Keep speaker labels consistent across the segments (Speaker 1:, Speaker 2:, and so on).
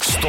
Speaker 1: Stå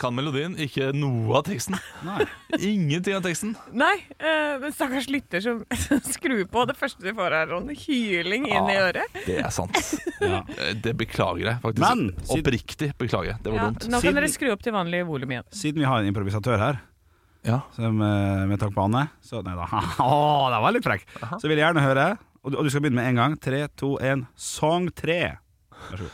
Speaker 2: Kan melodien, ikke noe av teksten. Ingenting av teksten.
Speaker 3: Nei, eh, men stakkars lytter som skrur på. Det første de får, er en hyling inn i øret.
Speaker 2: Det er sant.
Speaker 4: Ja.
Speaker 2: Eh, Det beklager jeg faktisk.
Speaker 4: Men, siden-
Speaker 2: Oppriktig beklager. jeg. Det var
Speaker 3: Ja,
Speaker 2: dumt.
Speaker 3: nå kan dere
Speaker 4: Siden-
Speaker 3: skru opp til vanlig volum igjen.
Speaker 4: Siden vi har en improvisatør her,
Speaker 2: Ja.
Speaker 4: som, eh, med takk på Anne så, Nei da, Åh, det var litt frekk. Så vil jeg gjerne høre, og du, og du skal begynne med en gang. Tre, to, en, sang tre.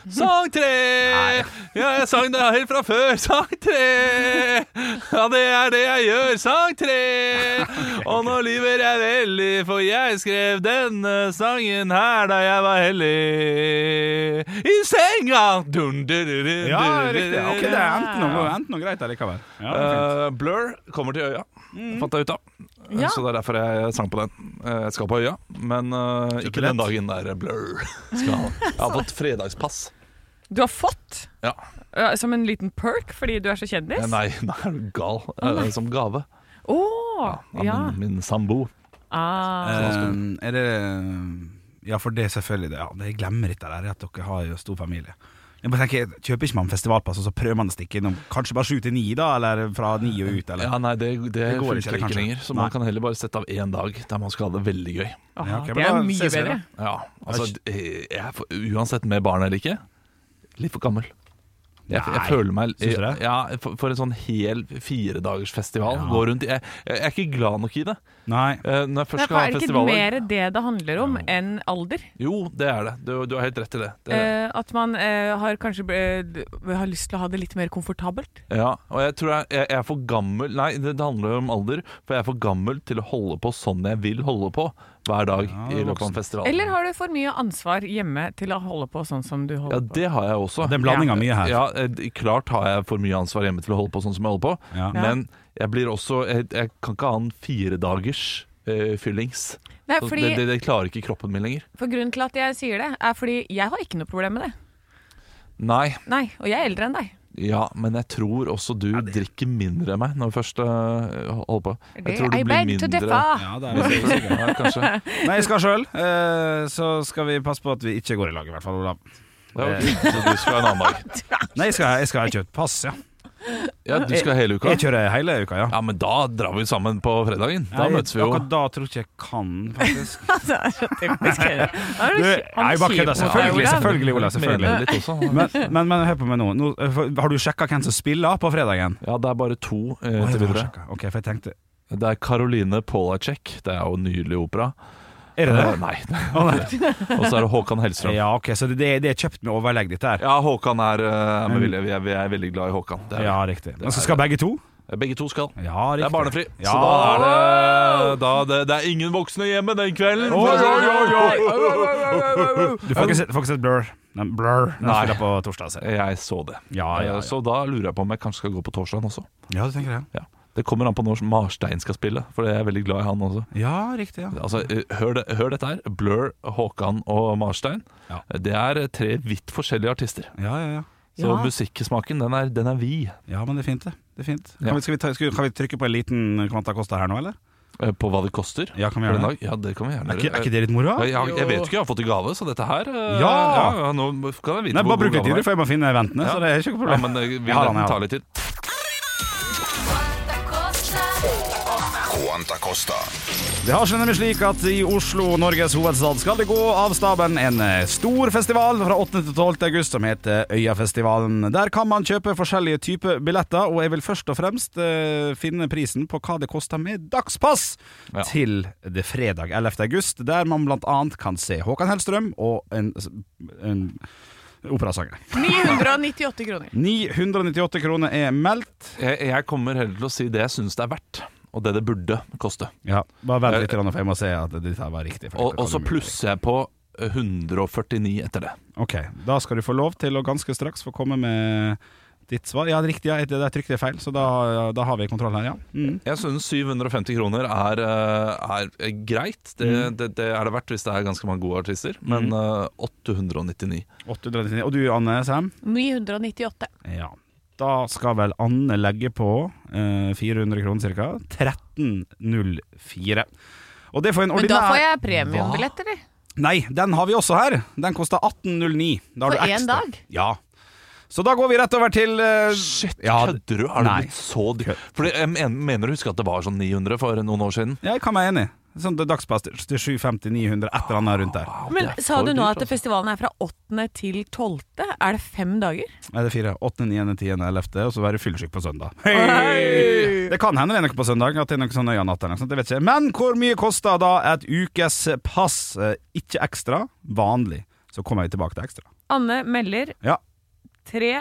Speaker 2: Sang tre! Ja, jeg sang det helt fra før. Sang tre! Ja, det er det jeg gjør. Sang tre! Og nå lyver jeg veldig, for jeg skrev denne sangen her da jeg var hellig. I senga! Dun, dun, dun, dun,
Speaker 4: Ja,
Speaker 2: dun,
Speaker 4: riktig.
Speaker 2: dun,
Speaker 4: Ok, det er enten noe, enten noe greit allikevel. Ja, det er fint.
Speaker 2: Eh, Blur kommer til øya,
Speaker 4: Mm.
Speaker 2: fant jeg ut av. Eh,
Speaker 3: Ja.
Speaker 2: Så det er derfor jeg sang på den. Eh, jeg skal på øya, men eh, ikke den
Speaker 4: billett.
Speaker 2: dagen der Blur skal. Jeg har fått fredagspass.
Speaker 3: Du har fått,
Speaker 2: Ja.
Speaker 3: eh, som en liten perk fordi du er så kjendis.
Speaker 2: Eh, Nei, nei, er du gal? Eh, Som gave
Speaker 3: Å,
Speaker 2: av
Speaker 3: ja.
Speaker 2: min, min sambo.
Speaker 3: Ah.
Speaker 4: Eh, er det Ja, for det er selvfølgelig det. Ja, det jeg glemmer dette der, er at dere har jo stor familie. Jeg bare tenker, Kjøper ikke man festivalpass, og så prøver man å stikke innom kanskje bare sju til ni, da? Eller fra ni og ut, eller?
Speaker 2: Ja, nei, det, det,
Speaker 4: Det går
Speaker 2: funker
Speaker 4: ikke,
Speaker 2: ikke,
Speaker 4: kanskje.
Speaker 2: lenger. Så man
Speaker 4: Nei.
Speaker 2: kan heller bare sette av én dag der man skal ha det veldig gøy.
Speaker 3: Åh,
Speaker 4: ja, ok,
Speaker 3: det
Speaker 4: men
Speaker 3: er
Speaker 4: da
Speaker 3: mye
Speaker 4: ses vi da.
Speaker 3: bedre.
Speaker 2: Ja, altså, eh, jeg er for, Uansett med barn eller ikke, litt for gammel. Jeg, jeg
Speaker 4: Nei,
Speaker 2: føler meg
Speaker 4: synes du det?
Speaker 2: Ja, for, for en sånn hel firedagersfestival.
Speaker 4: Ja.
Speaker 2: Gå rundt i- jeg, jeg er ikke glad nok i det.
Speaker 4: Nei.
Speaker 2: Eh, Når jeg først
Speaker 3: Nei,
Speaker 2: skal
Speaker 3: for
Speaker 2: ha
Speaker 3: er det ikke
Speaker 2: festivaler
Speaker 3: mer det det handler om enn alder?
Speaker 2: Jo, det er det. Du, du har helt rett i det. det
Speaker 3: Eh, at man eh, har kanskje eh, d- har lyst til å ha det litt mer komfortabelt?
Speaker 2: Ja, og jeg tror jeg, jeg, jeg er for gammel Nei, det, det handler jo om alder For jeg er for gammel til å holde på sånn jeg vil holde på Hver dag
Speaker 4: Ja,
Speaker 2: i løpet av
Speaker 4: voksen.
Speaker 2: en festival
Speaker 3: Eller har du for mye ansvar hjemme til å holde på sånn som du
Speaker 2: Ja,
Speaker 3: holder på?
Speaker 2: det har jeg også
Speaker 4: Det er en blanding av mye her.
Speaker 2: ja, eh, d- klart har jeg for mye ansvar hjemme til å holde på sånn som jeg holder på
Speaker 4: Ja.
Speaker 2: Men jeg blir også Jeg, jeg kan ikke ha en fire dagers fyllings
Speaker 3: Nei,
Speaker 2: Så
Speaker 3: fordi,
Speaker 2: det, det, det klarer ikke kroppen min lenger
Speaker 3: for Grunnen til at jeg sier det, er fordi jeg har ikke noe problem med det.
Speaker 2: Nei,
Speaker 3: Nei, Og jeg er eldre enn deg.
Speaker 2: ja, men jeg tror også du drikker mindre enn meg Når vi først eh, holder på Jeg tror du
Speaker 3: er
Speaker 2: blir
Speaker 3: bent
Speaker 2: mindre
Speaker 3: to differ.
Speaker 4: Ja, det er vi sikkert.
Speaker 2: Ja, kanskje
Speaker 4: Nei, jeg skal sjøl. Eh, så skal vi passe på at vi ikke går i lag, i hvert fall, Olav.
Speaker 2: Ja, ok. Så du skal ha en annen dag.
Speaker 4: Nei, jeg skal, jeg skal ha kjøpt pass, ja.
Speaker 2: Ja, du skal hele uka.
Speaker 4: Jeg kjører hele uka, ja.
Speaker 2: Ja, men da drar vi sammen på fredagen. Da
Speaker 4: Nei,
Speaker 2: møtes vi jo.
Speaker 4: Akkurat da tror jeg ikke jeg kan, faktisk.
Speaker 3: Altså, Det er så typisk Høyre. Han er
Speaker 4: Du,
Speaker 3: kjip- han
Speaker 4: jeg bare kødder.
Speaker 3: kjip mot deg,
Speaker 4: Selvfølgelig,
Speaker 3: Olav.
Speaker 4: selvfølgelig, Olav. Selvfølgelig.
Speaker 2: Mener litt også.
Speaker 4: Men, men, men hør på meg nå. nå eh, for- har du sjekka hvem som spiller på fredagen?
Speaker 2: Ja, det er bare to eh,
Speaker 4: Å,
Speaker 2: til
Speaker 4: ja, du har
Speaker 2: videre.
Speaker 4: sjekket. Ok, for jeg tenkte
Speaker 2: Det er Caroline Polacek. Det er jo nydelig opera.
Speaker 4: Er det det?
Speaker 2: Eh, Nei.
Speaker 4: Å, nei.
Speaker 2: Og så er det Håkan Hellstrøm.
Speaker 4: Ja, ok, så det, det er- det er kjøpt med overlegg, dette her?
Speaker 2: Ja, Håkan er eh, med vilje. Vi er, vi er veldig glad i Håkan. Det er,
Speaker 4: Mm. Ja, riktig. Men så skal begge to?
Speaker 2: vi. Begge to skal.
Speaker 4: Ja, riktig.
Speaker 2: Det er barnefri,
Speaker 4: Ja.
Speaker 2: så da er det, da det, det er ingen voksne hjemme den kvelden.
Speaker 4: Oi,
Speaker 2: sånn.
Speaker 4: oi, oi, oi.
Speaker 3: Nei,
Speaker 4: Du får ikke sett, får ikke sett Blur. Nei, Blur. Den
Speaker 2: Nei.
Speaker 4: spiller på torsdag. ser jeg.
Speaker 2: Jeg så det.
Speaker 4: Ja, ja, ja.
Speaker 2: Eh, Så da lurer jeg på om jeg kanskje skal gå på torsdagen også.
Speaker 4: Ja, du tenker det?
Speaker 2: Ja. Det kommer an på når Marstein skal spille, for jeg er veldig glad i han også.
Speaker 4: Ja, riktig. ja
Speaker 2: Altså, eh, hør, det, hør dette her. Blur, Håkan og Marstein.
Speaker 4: Ja.
Speaker 2: Det er eh, tre vidt forskjellige artister.
Speaker 4: Ja, ja, ja.
Speaker 2: Så
Speaker 3: Ja.
Speaker 2: musikksmaken, den er, den er vid.
Speaker 4: Ja, men det er fint, det. det er fint.
Speaker 2: Ja.
Speaker 4: Kan, vi, skal vi ta, skal, vi- kan vi trykke på en liten Quanta Costa her nå, eller?
Speaker 2: Eh, På hva det koster.
Speaker 4: Ja, kan vi
Speaker 2: for
Speaker 4: gjøre
Speaker 2: en
Speaker 4: det?
Speaker 2: dag. Ja, det kan vi
Speaker 4: Er
Speaker 2: gjerne
Speaker 4: ikke, er
Speaker 2: gjøre.
Speaker 4: ikke det litt moro?
Speaker 2: Eh, Jeg, har- jeg vet jo ikke, jeg har fått i gave, så dette her eh,
Speaker 4: Ja!
Speaker 2: ja, Nå kan jeg vite
Speaker 4: Nei, bare bruk litt tid,
Speaker 2: gave det er.
Speaker 4: for jeg må finne eventene.
Speaker 2: Ja.
Speaker 4: Så det er ikke noe
Speaker 2: Ja,
Speaker 4: problem.
Speaker 2: men eh,
Speaker 4: Jeg har
Speaker 2: vil
Speaker 4: han, jeg
Speaker 2: den ta
Speaker 4: har han.
Speaker 2: litt tid?
Speaker 1: Quanta Costa.
Speaker 4: Det har seg nemlig slik at i Oslo, Norges hovedstad, skal det gå av staben en eh, stor festival fra 8. til 12. august som heter Øyafestivalen. Der kan man kjøpe forskjellige typer billetter, og jeg vil først og fremst eh, finne prisen på hva det koster med dagspass
Speaker 2: Ja.
Speaker 4: til det fredag 11. august, der man blant annet kan se Håkan Hellstrøm og en, en operasanger.
Speaker 3: 998 kroner.
Speaker 4: 998 kroner er meldt.
Speaker 2: Jeg, jeg kommer heller til å si det jeg syns det er verdt, og det det burde koste.
Speaker 4: Ja, bare vent litt, grann, for jeg må se at dette her var riktig. for
Speaker 2: Eh, Og,
Speaker 4: dette kan
Speaker 2: og så
Speaker 4: umulig.
Speaker 2: plusser jeg på eh, 149 etter det.
Speaker 4: Ok, da skal du få lov til å ganske straks få komme med ditt svar. Ja, det er riktig, ja, det der trykket er feil, så da, da har vi kontroll her, ja. Mm.
Speaker 2: Jeg synes 750 kroner er, eh, er greit. Det,
Speaker 4: Mm.
Speaker 2: det, det er det verdt hvis det er ganske mange gode artister. Men eh, 899
Speaker 4: 899. Og du, Anne Sam?
Speaker 3: 998.
Speaker 4: Ja. Da skal vel Anne legge på eh, 400 kroner ca. 13.04. Og det får en
Speaker 3: Men da
Speaker 4: ordinær
Speaker 3: får jeg premiumbilletter, de.
Speaker 4: Nei, den har vi også her. Den koster 18,09. Da har
Speaker 3: For
Speaker 4: du
Speaker 3: én
Speaker 4: ekstra.
Speaker 3: dag?
Speaker 4: Ja. Så da går vi rett over til eh,
Speaker 2: Shit,
Speaker 4: ja,
Speaker 2: kødder du? Har du
Speaker 4: nei.
Speaker 2: blitt så dyr? Fordi jeg men- mener å huske at det var sånn 900 for noen år siden.
Speaker 4: Jeg kan være enig. Sånn det er dagspass til 750-900, et eller annet rundt der.
Speaker 2: Wow,
Speaker 3: Men
Speaker 2: det er
Speaker 3: sa
Speaker 2: for
Speaker 3: du nå
Speaker 2: dyrt,
Speaker 3: at
Speaker 2: altså.
Speaker 3: festivalen er fra 8. til 12.? Er det fem dager?
Speaker 4: Nei, det er fire. 8., 9., 10., 11., og så være fyllesyk på søndag.
Speaker 3: Hei!
Speaker 4: Det kan hende det er noe på søndag, at det er noe sånn øyanatt eller noe sånt, det vet ikke. Men hvor mye koster da et ukes pass? Eh, Ikke ekstra, vanlig. Så kommer vi tilbake til ekstra.
Speaker 3: Anne melder
Speaker 4: Ja. Mm.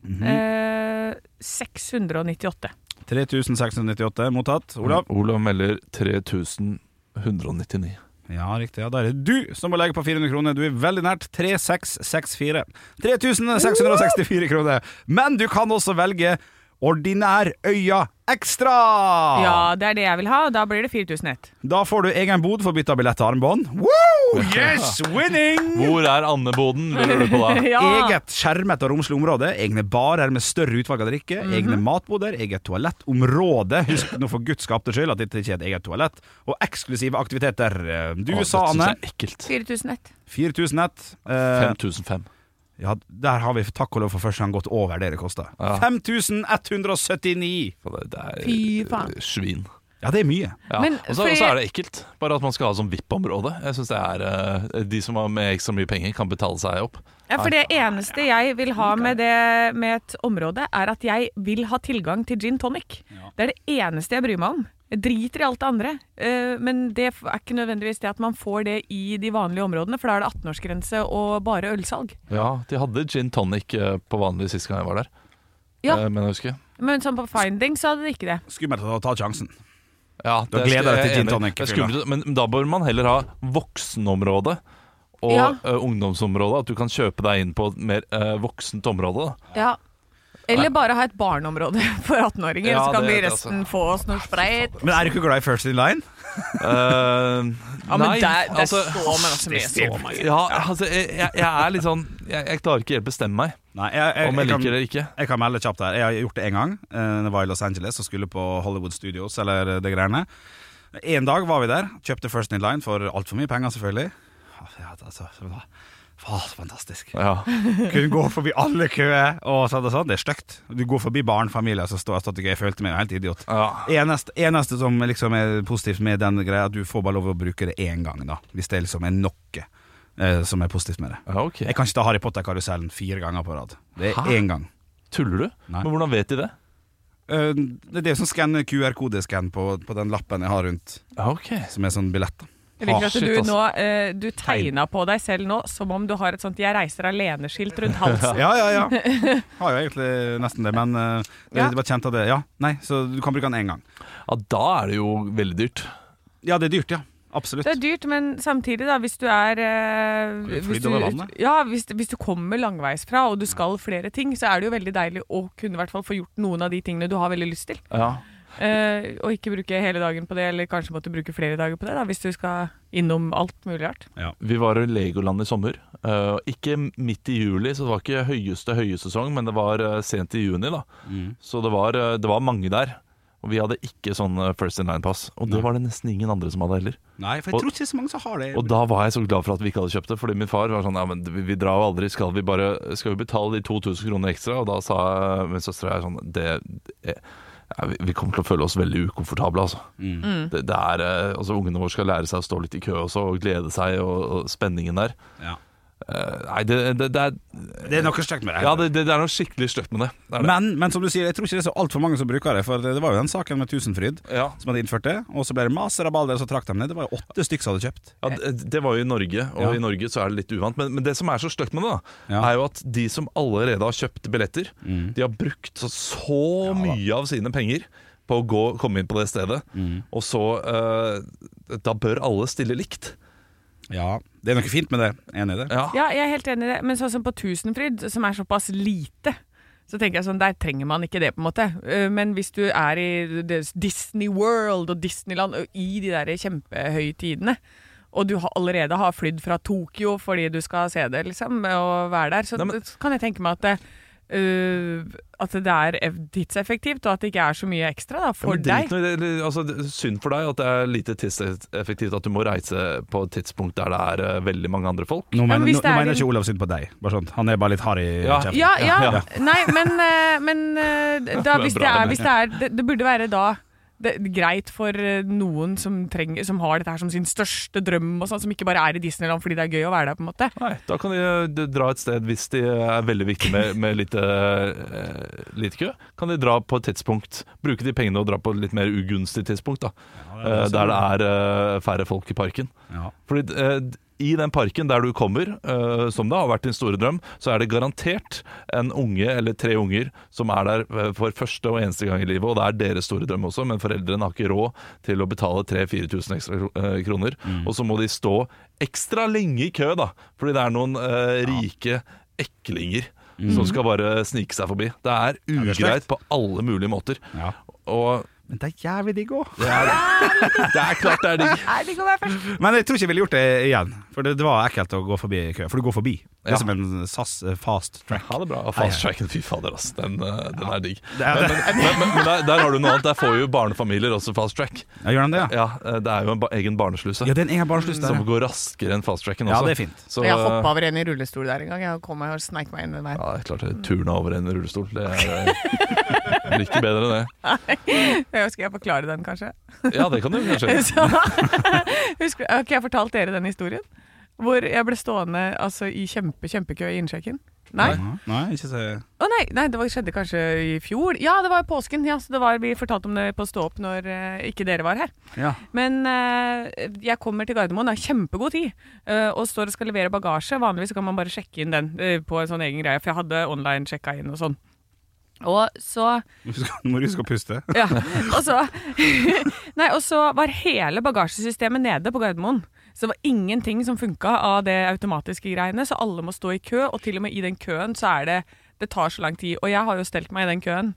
Speaker 4: Mhm.
Speaker 3: Eh. 3698.
Speaker 4: 3698 mottatt. Olav?
Speaker 2: altså. Mm. Olav melder 3199.
Speaker 4: Ja, riktig. Ja, da er det du som må legge på 400 kroner. Du er veldig nært. 3664. 3664 kroner. Men du kan også velge Ordinær Øya Ekstra!
Speaker 2: Ah.
Speaker 3: Ja, det er det jeg vil ha. Da blir det 4001.
Speaker 4: Da får du egen bod for bytte av billett og armbånd. Woo! Yes, winning!
Speaker 2: Hvor er Andeboden, lurer du på da?
Speaker 4: Eget skjermet og romslig område, egne barer med større utvalg av drikke,
Speaker 2: Mhm.
Speaker 4: egne matboder, eget toalettområde. Husk nå for guds skapte skyld at dette ikke er et eget toalett. Og eksklusive aktiviteter. Du
Speaker 2: Å, det
Speaker 4: sa,
Speaker 2: synes
Speaker 4: Anne,
Speaker 2: jeg er ekkelt.
Speaker 3: 4001.
Speaker 4: 4001. Eh,
Speaker 2: 5005.
Speaker 4: ja, der har vi takk og lov for første gang gått over det det koster.
Speaker 2: Ja.
Speaker 4: 5179!
Speaker 2: For Det, det er
Speaker 3: Fy faen.
Speaker 2: eh, svin.
Speaker 4: Ja, det er mye.
Speaker 2: Ja.
Speaker 3: Men
Speaker 2: og så
Speaker 3: fordi-
Speaker 2: og så er det ekkelt. Bare at man skal ha sånn VIP-område. Jeg synes det er eh, De som har med ekstra mye penger, kan betale seg opp.
Speaker 3: Ja, for
Speaker 2: ah.
Speaker 3: det eneste jeg vil ha med, det, med et område, er at jeg vil ha tilgang til gin tonic. Det er det eneste jeg bryr meg om. Jeg driter i alt det andre. Eh, Men det er ikke nødvendigvis det at man får det i de vanlige områdene, for da er det 18-årsgrense og bare ølsalg.
Speaker 2: Ja, De hadde gin tonic eh, på vanlig sist gang jeg var der.
Speaker 3: Ja.
Speaker 2: Eh, Men jeg husker
Speaker 3: Men sånn på finding så hadde de ikke det.
Speaker 4: Skummelt å ta sjansen.
Speaker 2: ja,
Speaker 4: Da
Speaker 2: det er-
Speaker 4: gleder jeg deg til
Speaker 2: jeg er
Speaker 4: gin
Speaker 2: enig.
Speaker 4: tonic,
Speaker 2: Det er skummelt, Men da bør man heller ha voksenområde og
Speaker 3: Ja.
Speaker 2: eh, ungdomsområde. At du kan kjøpe deg inn på et mer eh, voksent område. Da.
Speaker 3: Ja. Eller bare ha et barneområde for 18-åringer,
Speaker 2: Ja,
Speaker 3: så kan
Speaker 2: det-
Speaker 3: de
Speaker 2: det,
Speaker 3: resten
Speaker 2: altså.
Speaker 3: få oss noe spreit.
Speaker 4: Men er du ikke glad i First in Line?
Speaker 2: Eh,
Speaker 3: Ja, men
Speaker 2: nei,
Speaker 3: det, er- det er
Speaker 2: altså-
Speaker 3: så mange som gjør så mange.
Speaker 2: Ja, altså, jeg, jeg, jeg er litt sånn Jeg, jeg klarer ikke helt bestemme meg
Speaker 4: Nei, jeg,
Speaker 2: om jeg
Speaker 4: kan-
Speaker 2: liker det eller ikke.
Speaker 4: Jeg kan melde kjapt her. Jeg har gjort det én gang. eh, Jeg var i Los Angeles og skulle på Hollywood Studios eller eh, det greiene. En dag var vi der. Kjøpte First In Line for altfor mye penger, selvfølgelig. Ja, altså, det var faen, fantastisk.
Speaker 2: Ja.
Speaker 4: Kunne gå forbi alle køer og sånn og sånn. Det er stygt. Du går forbi barnefamilier som står og står og Jeg følte meg helt idiot.
Speaker 2: Ja.
Speaker 4: Eneste, eneste som liksom er positivt med den greia, er at du får bare lov å bruke det én gang, da. Hvis det liksom er noe eh, som er positivt med det.
Speaker 2: ja, ok.
Speaker 4: Jeg kan ikke ta Harry Potter-karusellen fire ganger på rad. Det
Speaker 2: Hæ?
Speaker 4: er én gang.
Speaker 2: Tuller du?
Speaker 4: Nei.
Speaker 2: Men hvordan vet de det?
Speaker 4: Eh, Det er det som skanner QR-kodeskann på, på den lappen jeg har rundt,
Speaker 2: Ja, ok
Speaker 4: som er sånn billett. da.
Speaker 3: Jeg liker
Speaker 2: Ah,
Speaker 3: at
Speaker 2: shit,
Speaker 3: du
Speaker 2: ass.
Speaker 3: nå eh, Du tegna på deg selv nå som om du har et sånt 'jeg reiser alene'-skilt rundt halsen.
Speaker 4: Ja, ja, ja. Har jo egentlig nesten det, men eh, det
Speaker 3: Ja.
Speaker 4: det var kjent av det. Ja, nei, så du kan bruke den én gang.
Speaker 2: Ja, da er det jo veldig dyrt.
Speaker 4: Ja, det er dyrt, ja. Absolutt.
Speaker 3: Det er dyrt, men samtidig, da, hvis du er eh,
Speaker 4: Flydd
Speaker 3: hvis du,
Speaker 4: over vannet.
Speaker 3: ja, hvis, hvis du kommer langveisfra og du skal flere ting, så er det jo veldig deilig å kunne i hvert fall få gjort noen av de tingene du har veldig lyst til.
Speaker 2: Ja.
Speaker 3: Eh, og ikke bruke hele dagen på det, eller kanskje måtte bruke flere dager på det, da, hvis du skal innom alt mulig rart.
Speaker 2: Vi var i Legoland i sommer. Eh, ikke midt i juli, så det var ikke høyeste høysesong, men det var eh, sent i juni. da
Speaker 4: Mm.
Speaker 2: Så det var, eh, det var mange der. Og vi hadde ikke sånn eh, First in Line-pass. Og det var det nesten ingen andre som hadde heller.
Speaker 4: Nei, for jeg tror ikke så mange som har det.
Speaker 2: Og da var jeg så glad for at vi ikke hadde kjøpt det, fordi min far var sånn Ja, men vi, vi drar jo aldri, skal vi bare Skal vi betale de 2000 kroner ekstra? Og da sa jeg- min søster og jeg sånn Det, det ja, vi- vi kommer til å føle oss veldig ukomfortable, altså. Det, det er, eh, altså. Ungene våre skal lære seg å stå litt i kø også, og glede seg, og, og spenningen der.
Speaker 4: Ja.
Speaker 2: Eh, nei, det, det, det er
Speaker 4: Det er noe stygt med det.
Speaker 2: Ja, det, det, det er noe skikkelig støtt med det. det, er det.
Speaker 4: men, men som du sier, jeg tror ikke det er så altfor mange som bruker det. For det det var jo den saken med Tusenfryd
Speaker 2: ja.
Speaker 4: som hadde innført det, og så ble det maser av baller, og så trakk de ned. Det var jo åtte stykker som hadde kjøpt.
Speaker 2: Ja, det, det var jo i Norge, og
Speaker 4: Ja.
Speaker 2: i Norge så er det litt uvant. Men, men det som er så stygt med det, da,
Speaker 4: Ja.
Speaker 2: er jo at de som allerede har kjøpt billetter, de har brukt så, så mye av sine penger på å gå, komme inn på det stedet, og så eh, Da bør alle stille likt.
Speaker 4: Ja, det er noe fint med det. Enig i det.
Speaker 2: Ja.
Speaker 3: Ja, jeg er helt enig i det. Men sånn som på Tusenfryd, som er såpass lite, så tenker jeg sånn, der trenger man ikke det, på en måte. Eh, Men hvis du er i det- Disney World og Disneyland, og i de der kjempehøytidene, og du har allerede har flydd fra Tokyo fordi du skal se det, liksom, og være der, så
Speaker 2: Nei, men-
Speaker 3: kan jeg tenke meg at eh, øh, at det er ev- tidseffektivt, og at det ikke er så mye ekstra da, for
Speaker 2: Men drit
Speaker 3: deg.
Speaker 2: nå i det, eller, altså, det- synd for deg at det er lite tidseffektivt at du må reise på et tidspunkt der det er eh, veldig mange andre folk.
Speaker 4: Nå
Speaker 3: men
Speaker 4: mener,
Speaker 3: hvis
Speaker 4: nå,
Speaker 3: det
Speaker 4: nå
Speaker 3: er
Speaker 4: mener
Speaker 3: en-
Speaker 4: ikke Olav synd på deg. Bare sånn. Han er bare litt hard i
Speaker 2: Ja.
Speaker 4: kjeften.
Speaker 3: Ja, ja,
Speaker 2: Ja.
Speaker 3: Nei, men, øh, men øh, da,
Speaker 2: Det var
Speaker 3: hvis, det
Speaker 2: bra
Speaker 3: er,
Speaker 2: det
Speaker 3: hvis det er Det, det burde være da det, greit for øh, noen som, trenger, som har dette her som sin største drøm, og sånn, som ikke bare er i Disneyland fordi det er gøy å være der, på en måte.
Speaker 2: Nei, da kan de eh, d- dra et sted hvis de eh, er veldig viktige med, med litt, eh, litt kø. Kan de dra på et tidspunkt, bruke de pengene og dra på et litt mer ugunstig tidspunkt, da. Eh, der det er eh, færre folk i parken.
Speaker 4: Ja.
Speaker 2: Fordi eh, d- i den parken der du kommer, eh, som det har vært din store drøm, så er det garantert en unge eller tre unger som er der eh, for første og eneste gang i livet, og det er deres store drøm også, men foreldrene har ikke råd til å betale 3000-4000 ekstra kro- eh, kroner. Og så må de stå ekstra lenge i kø, da, fordi det er noen eh, rike eklinger. Som skal bare snike seg forbi. Mm. Det er
Speaker 4: det er
Speaker 2: ugreit på alle mulige måter.
Speaker 4: Ja.
Speaker 2: Og
Speaker 4: Men det er jævlig digg òg.
Speaker 2: det er, det er klart det er digg.
Speaker 3: Nei, det kan være først.
Speaker 4: Men jeg tror ikke jeg ville gjort det igjen. For det, det var ekkelt å gå forbi i kø. For du går forbi. Det
Speaker 2: Ja.
Speaker 4: er som en SAS eh, fast track.
Speaker 2: Ha det bra. Og Fast tracken, fy fader, ass. Den, eh, den er digg.
Speaker 4: Det er
Speaker 2: Men, men, men, men der, der har du noe annet. Der får jo barnefamilier også fast track.
Speaker 4: Ja, gjør den det, ja?
Speaker 2: Ja, eh, Det er jo en ba egen barnesluse
Speaker 4: Ja, den er bare slutt der.
Speaker 2: som går raskere enn fast tracken
Speaker 4: Ja,
Speaker 2: også.
Speaker 4: det er fint.
Speaker 2: Så,
Speaker 3: Jeg
Speaker 2: eh,
Speaker 3: hoppa over en i rullestol der en gang. Jeg kom meg og sneik meg inn den veien.
Speaker 2: Ja, det er klart det turna over en rullestol. Det er eh, like bedre enn det.
Speaker 3: Skal jeg forklare den, kanskje?
Speaker 2: Ja, det kan du kanskje.
Speaker 3: Så, husker, har ikke jeg fortalt dere den historien? Hvor jeg ble stående altså, i kjempe, kjempekø i innsjekken? Nei?
Speaker 4: Nei, Nei, ikke så
Speaker 3: Å nei, nei, det var, skjedde kanskje i fjor. Ja, det var i påsken. Ja, så det var, vi fortalte om det på Stå opp når eh, ikke dere var her.
Speaker 4: Ja.
Speaker 3: Men eh, jeg kommer til Gardermoen, har kjempegod tid, eh, og står og skal levere bagasje. Vanligvis så kan man bare sjekke inn den eh, på en sånn egen greie, for jeg hadde online sjekka inn og sånn. Og så
Speaker 4: Nå skal- nå må du huske å puste.
Speaker 3: ja, og så, nei, og så var hele bagasjesystemet nede på Gardermoen. Så det var ingenting som funka av det automatiske greiene, så alle må stå i kø. Og til og med i den køen så er det Det tar så lang tid. Og jeg har jo stelt meg i den køen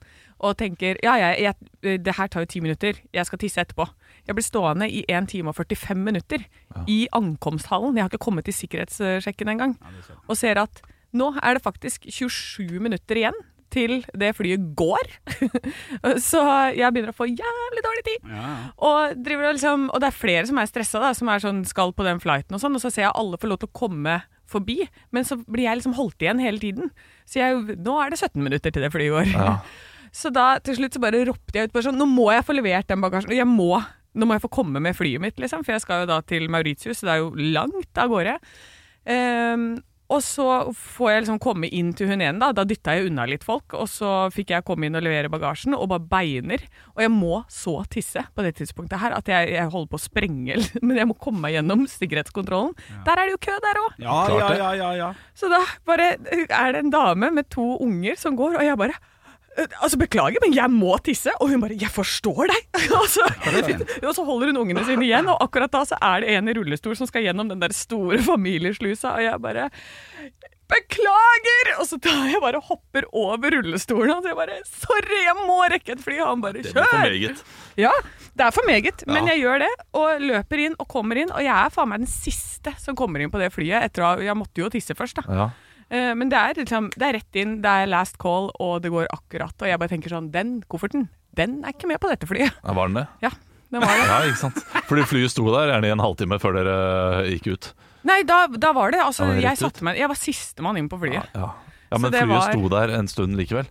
Speaker 3: og tenker ja, jeg, jeg, det her tar jo ti minutter, jeg skal tisse etterpå. Jeg ble stående i 1 time og 45 minutter i ankomsthallen. Jeg har ikke kommet til sikkerhetssjekken engang. Og ser at nå er det faktisk 27 minutter igjen til det flyet går. Så jeg begynner å få jævlig dårlig tid. Og, driver og liksom, og det er flere som er stressa, da, som er sånn, skal på den flighten og sånn. Og så ser jeg alle får lov til å komme forbi, men så blir jeg liksom holdt igjen hele tiden. Så jeg, nå er det 17 minutter til det flyet går.
Speaker 2: Ja.
Speaker 3: Så da til slutt så bare ropte jeg ut bare sånn Nå må jeg få levert den bagasjen. og Jeg må, nå må jeg få komme med flyet mitt, liksom. For jeg skal jo da til Mauritius, så det er jo langt av gårde. Ehm, og så får jeg liksom komme inn til hun ene, da. Da dytta jeg unna litt folk. Og så fikk jeg komme inn og levere bagasjen, og bare beiner. Og jeg må så tisse på det tidspunktet her at jeg, jeg holder på å sprenge, men jeg må komme meg gjennom sikkerhetskontrollen. Der er det jo kø, der òg!
Speaker 4: Ja,
Speaker 2: Klart
Speaker 4: ja,
Speaker 2: det.
Speaker 4: ja, ja, ja.
Speaker 3: Så da bare er det en dame med to unger som går, og jeg bare «Eh, Altså, beklager, men jeg må tisse. Og hun bare 'Jeg forstår deg'. og, så, og så holder hun ungene sine igjen, og akkurat da så er det en i rullestol som skal gjennom den der store familieslusa, og jeg bare Beklager! Og så tar jeg bare og hopper over rullestolen hans. Jeg bare 'Sorry, jeg må rekke et fly.' Og han bare
Speaker 2: Det blir for
Speaker 3: 'Kjør!'
Speaker 2: meget.
Speaker 3: Ja, det er for meget, men
Speaker 2: Ja.
Speaker 3: jeg gjør det. Og løper inn og kommer inn. Og jeg er faen meg den siste som kommer inn på det flyet. Etter å, ha- jeg måtte jo tisse først, da.
Speaker 2: Ja.
Speaker 3: Eh, Men det er, liksom, det er rett inn, det er last call, og det går akkurat. Og jeg bare tenker sånn, den kofferten, den er ikke med på dette flyet.
Speaker 2: Ja, Var den det?
Speaker 3: Ja, den var det.
Speaker 2: Ja, ikke sant. Fordi flyet sto der gjerne i en halvtime før dere eh, gikk ut.
Speaker 3: Nei, da, da var det. Altså,
Speaker 2: Ja, det var
Speaker 3: jeg,
Speaker 2: rett ut.
Speaker 3: satte meg, jeg var sistemann inn på flyet.
Speaker 2: Ja, ja
Speaker 3: Så
Speaker 2: men
Speaker 3: det
Speaker 2: flyet
Speaker 3: var-
Speaker 2: sto der en stund likevel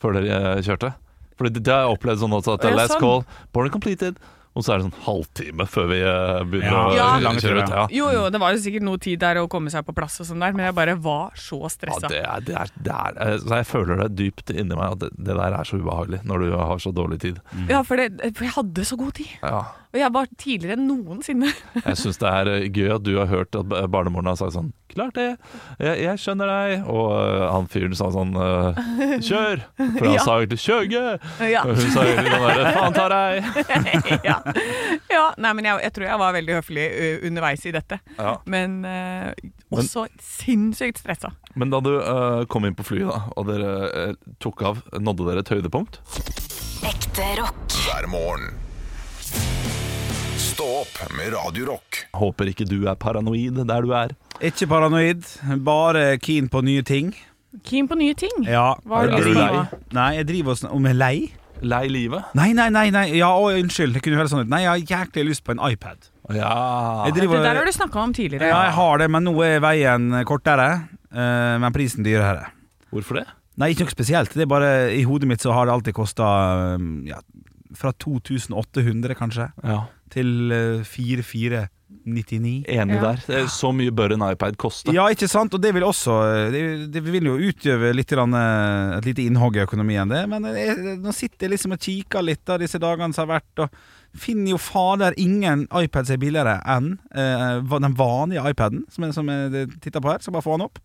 Speaker 2: Før dere eh, kjørte Fordi det, det har jeg opplevd sånn også At det
Speaker 3: Ja,
Speaker 2: er last
Speaker 3: sånn.
Speaker 2: call, boarding completed Og så er det sånn halvtime før vi eh, begynner
Speaker 4: Ja,
Speaker 2: å
Speaker 3: Ja.
Speaker 2: eh,
Speaker 4: lange turer,
Speaker 2: kjøre ut
Speaker 4: ja.
Speaker 2: ja.
Speaker 3: Jo, jo, det var jo sikkert noe tid der å komme seg på plass og sånn der, men jeg bare var så
Speaker 2: Ja,
Speaker 3: stressa.
Speaker 2: det er, det er, det er, eh, så jeg føler det dypt inni meg At det, det der er så ubehagelig Når du har så dårlig tid
Speaker 3: Ja, for, det, for jeg hadde så god tid.
Speaker 2: ja.
Speaker 3: Og jeg var tidligere enn noensinne.
Speaker 2: Jeg synes det er eh, gøy at du har hørt At ba- barnemoren har sagt sånn Klart det, jeg, jeg skjønner deg Og eh, han fyren sa sånn eh, Kjør, for han
Speaker 3: Ja.
Speaker 2: sa egentlig Kjøge
Speaker 3: Ja.
Speaker 2: Og hun sa egentlig sånn der Faen tar deg
Speaker 3: ja. ja. Nei, men jeg, jeg tror jeg var veldig høflig ø, underveis i dette.
Speaker 2: Ja.
Speaker 3: Men eh, også sinnssykt stressa.
Speaker 2: Men da du eh, kom inn på flyet da, og dere eh, tok av, nådde dere et høydepunkt?
Speaker 5: Ekte rock.
Speaker 1: hver morgen. Stå opp med Radio Rock.
Speaker 2: Håper ikke du er paranoid der du er.
Speaker 4: Ikke paranoid, bare keen på nye ting.
Speaker 3: Keen på nye ting.
Speaker 4: Ja.
Speaker 3: Hva
Speaker 2: Er
Speaker 3: har du
Speaker 2: du
Speaker 3: lyst på nå?
Speaker 2: lei?
Speaker 4: Nei, jeg driver og sn- Om jeg er lei?
Speaker 2: Lei livet?
Speaker 4: Nei, nei, nei. nei. Ja, å, unnskyld. Det kunne høres sånn ut. Nei, jeg har jæklig lyst på en iPad.
Speaker 2: Ja.
Speaker 4: Jeg driver-
Speaker 3: Det der har du snakka om tidligere.
Speaker 4: Ja, jeg har det, men nå er veien kortere. eh, Men prisen dyrere.
Speaker 2: Hvorfor det?
Speaker 4: Nei, ikke noe spesielt. Det er bare I hodet mitt så har det alltid kosta um, ja, fra 2800, kanskje,
Speaker 2: Ja.
Speaker 4: til eh, 4499.
Speaker 2: Enig
Speaker 3: Ja.
Speaker 2: der. Det er Så mye bør en iPad koste.
Speaker 4: Ja, ikke sant? Og det vil også eh, Det, det vil jo utgjøre litt grann, eh, et lite innhogg i økonomien, det. Men eh, jeg, nå sitter jeg liksom og kikker litt av disse dagene som har vært, og finner jo fader ingen iPads er billigere enn eh, va- den vanlige iPaden, som jeg, som jeg titter på her. Skal bare få den opp.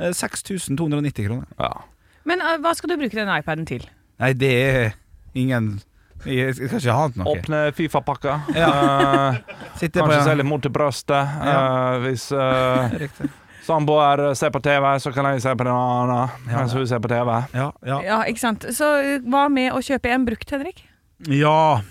Speaker 4: Eh, 6290 kroner.
Speaker 2: Ja.
Speaker 3: Men eh, hva skal du bruke den iPaden til?
Speaker 4: Nei, det er ingen Jeg skal ikke ha den til noe.
Speaker 2: Åpne Fifa-pakka. Eh,
Speaker 4: Sitter
Speaker 2: kanskje
Speaker 4: på
Speaker 2: se litt mot til brøstet. Eh, hvis eh,
Speaker 4: Riktig.
Speaker 2: samboer eh, ser på TV, så kan jeg se på den andre
Speaker 4: Ja.
Speaker 2: mens hun ser på TV.
Speaker 4: Ja, ja.
Speaker 3: Ja, ikke sant. Så eh, hva med å kjøpe en brukt, Henrik?
Speaker 4: ja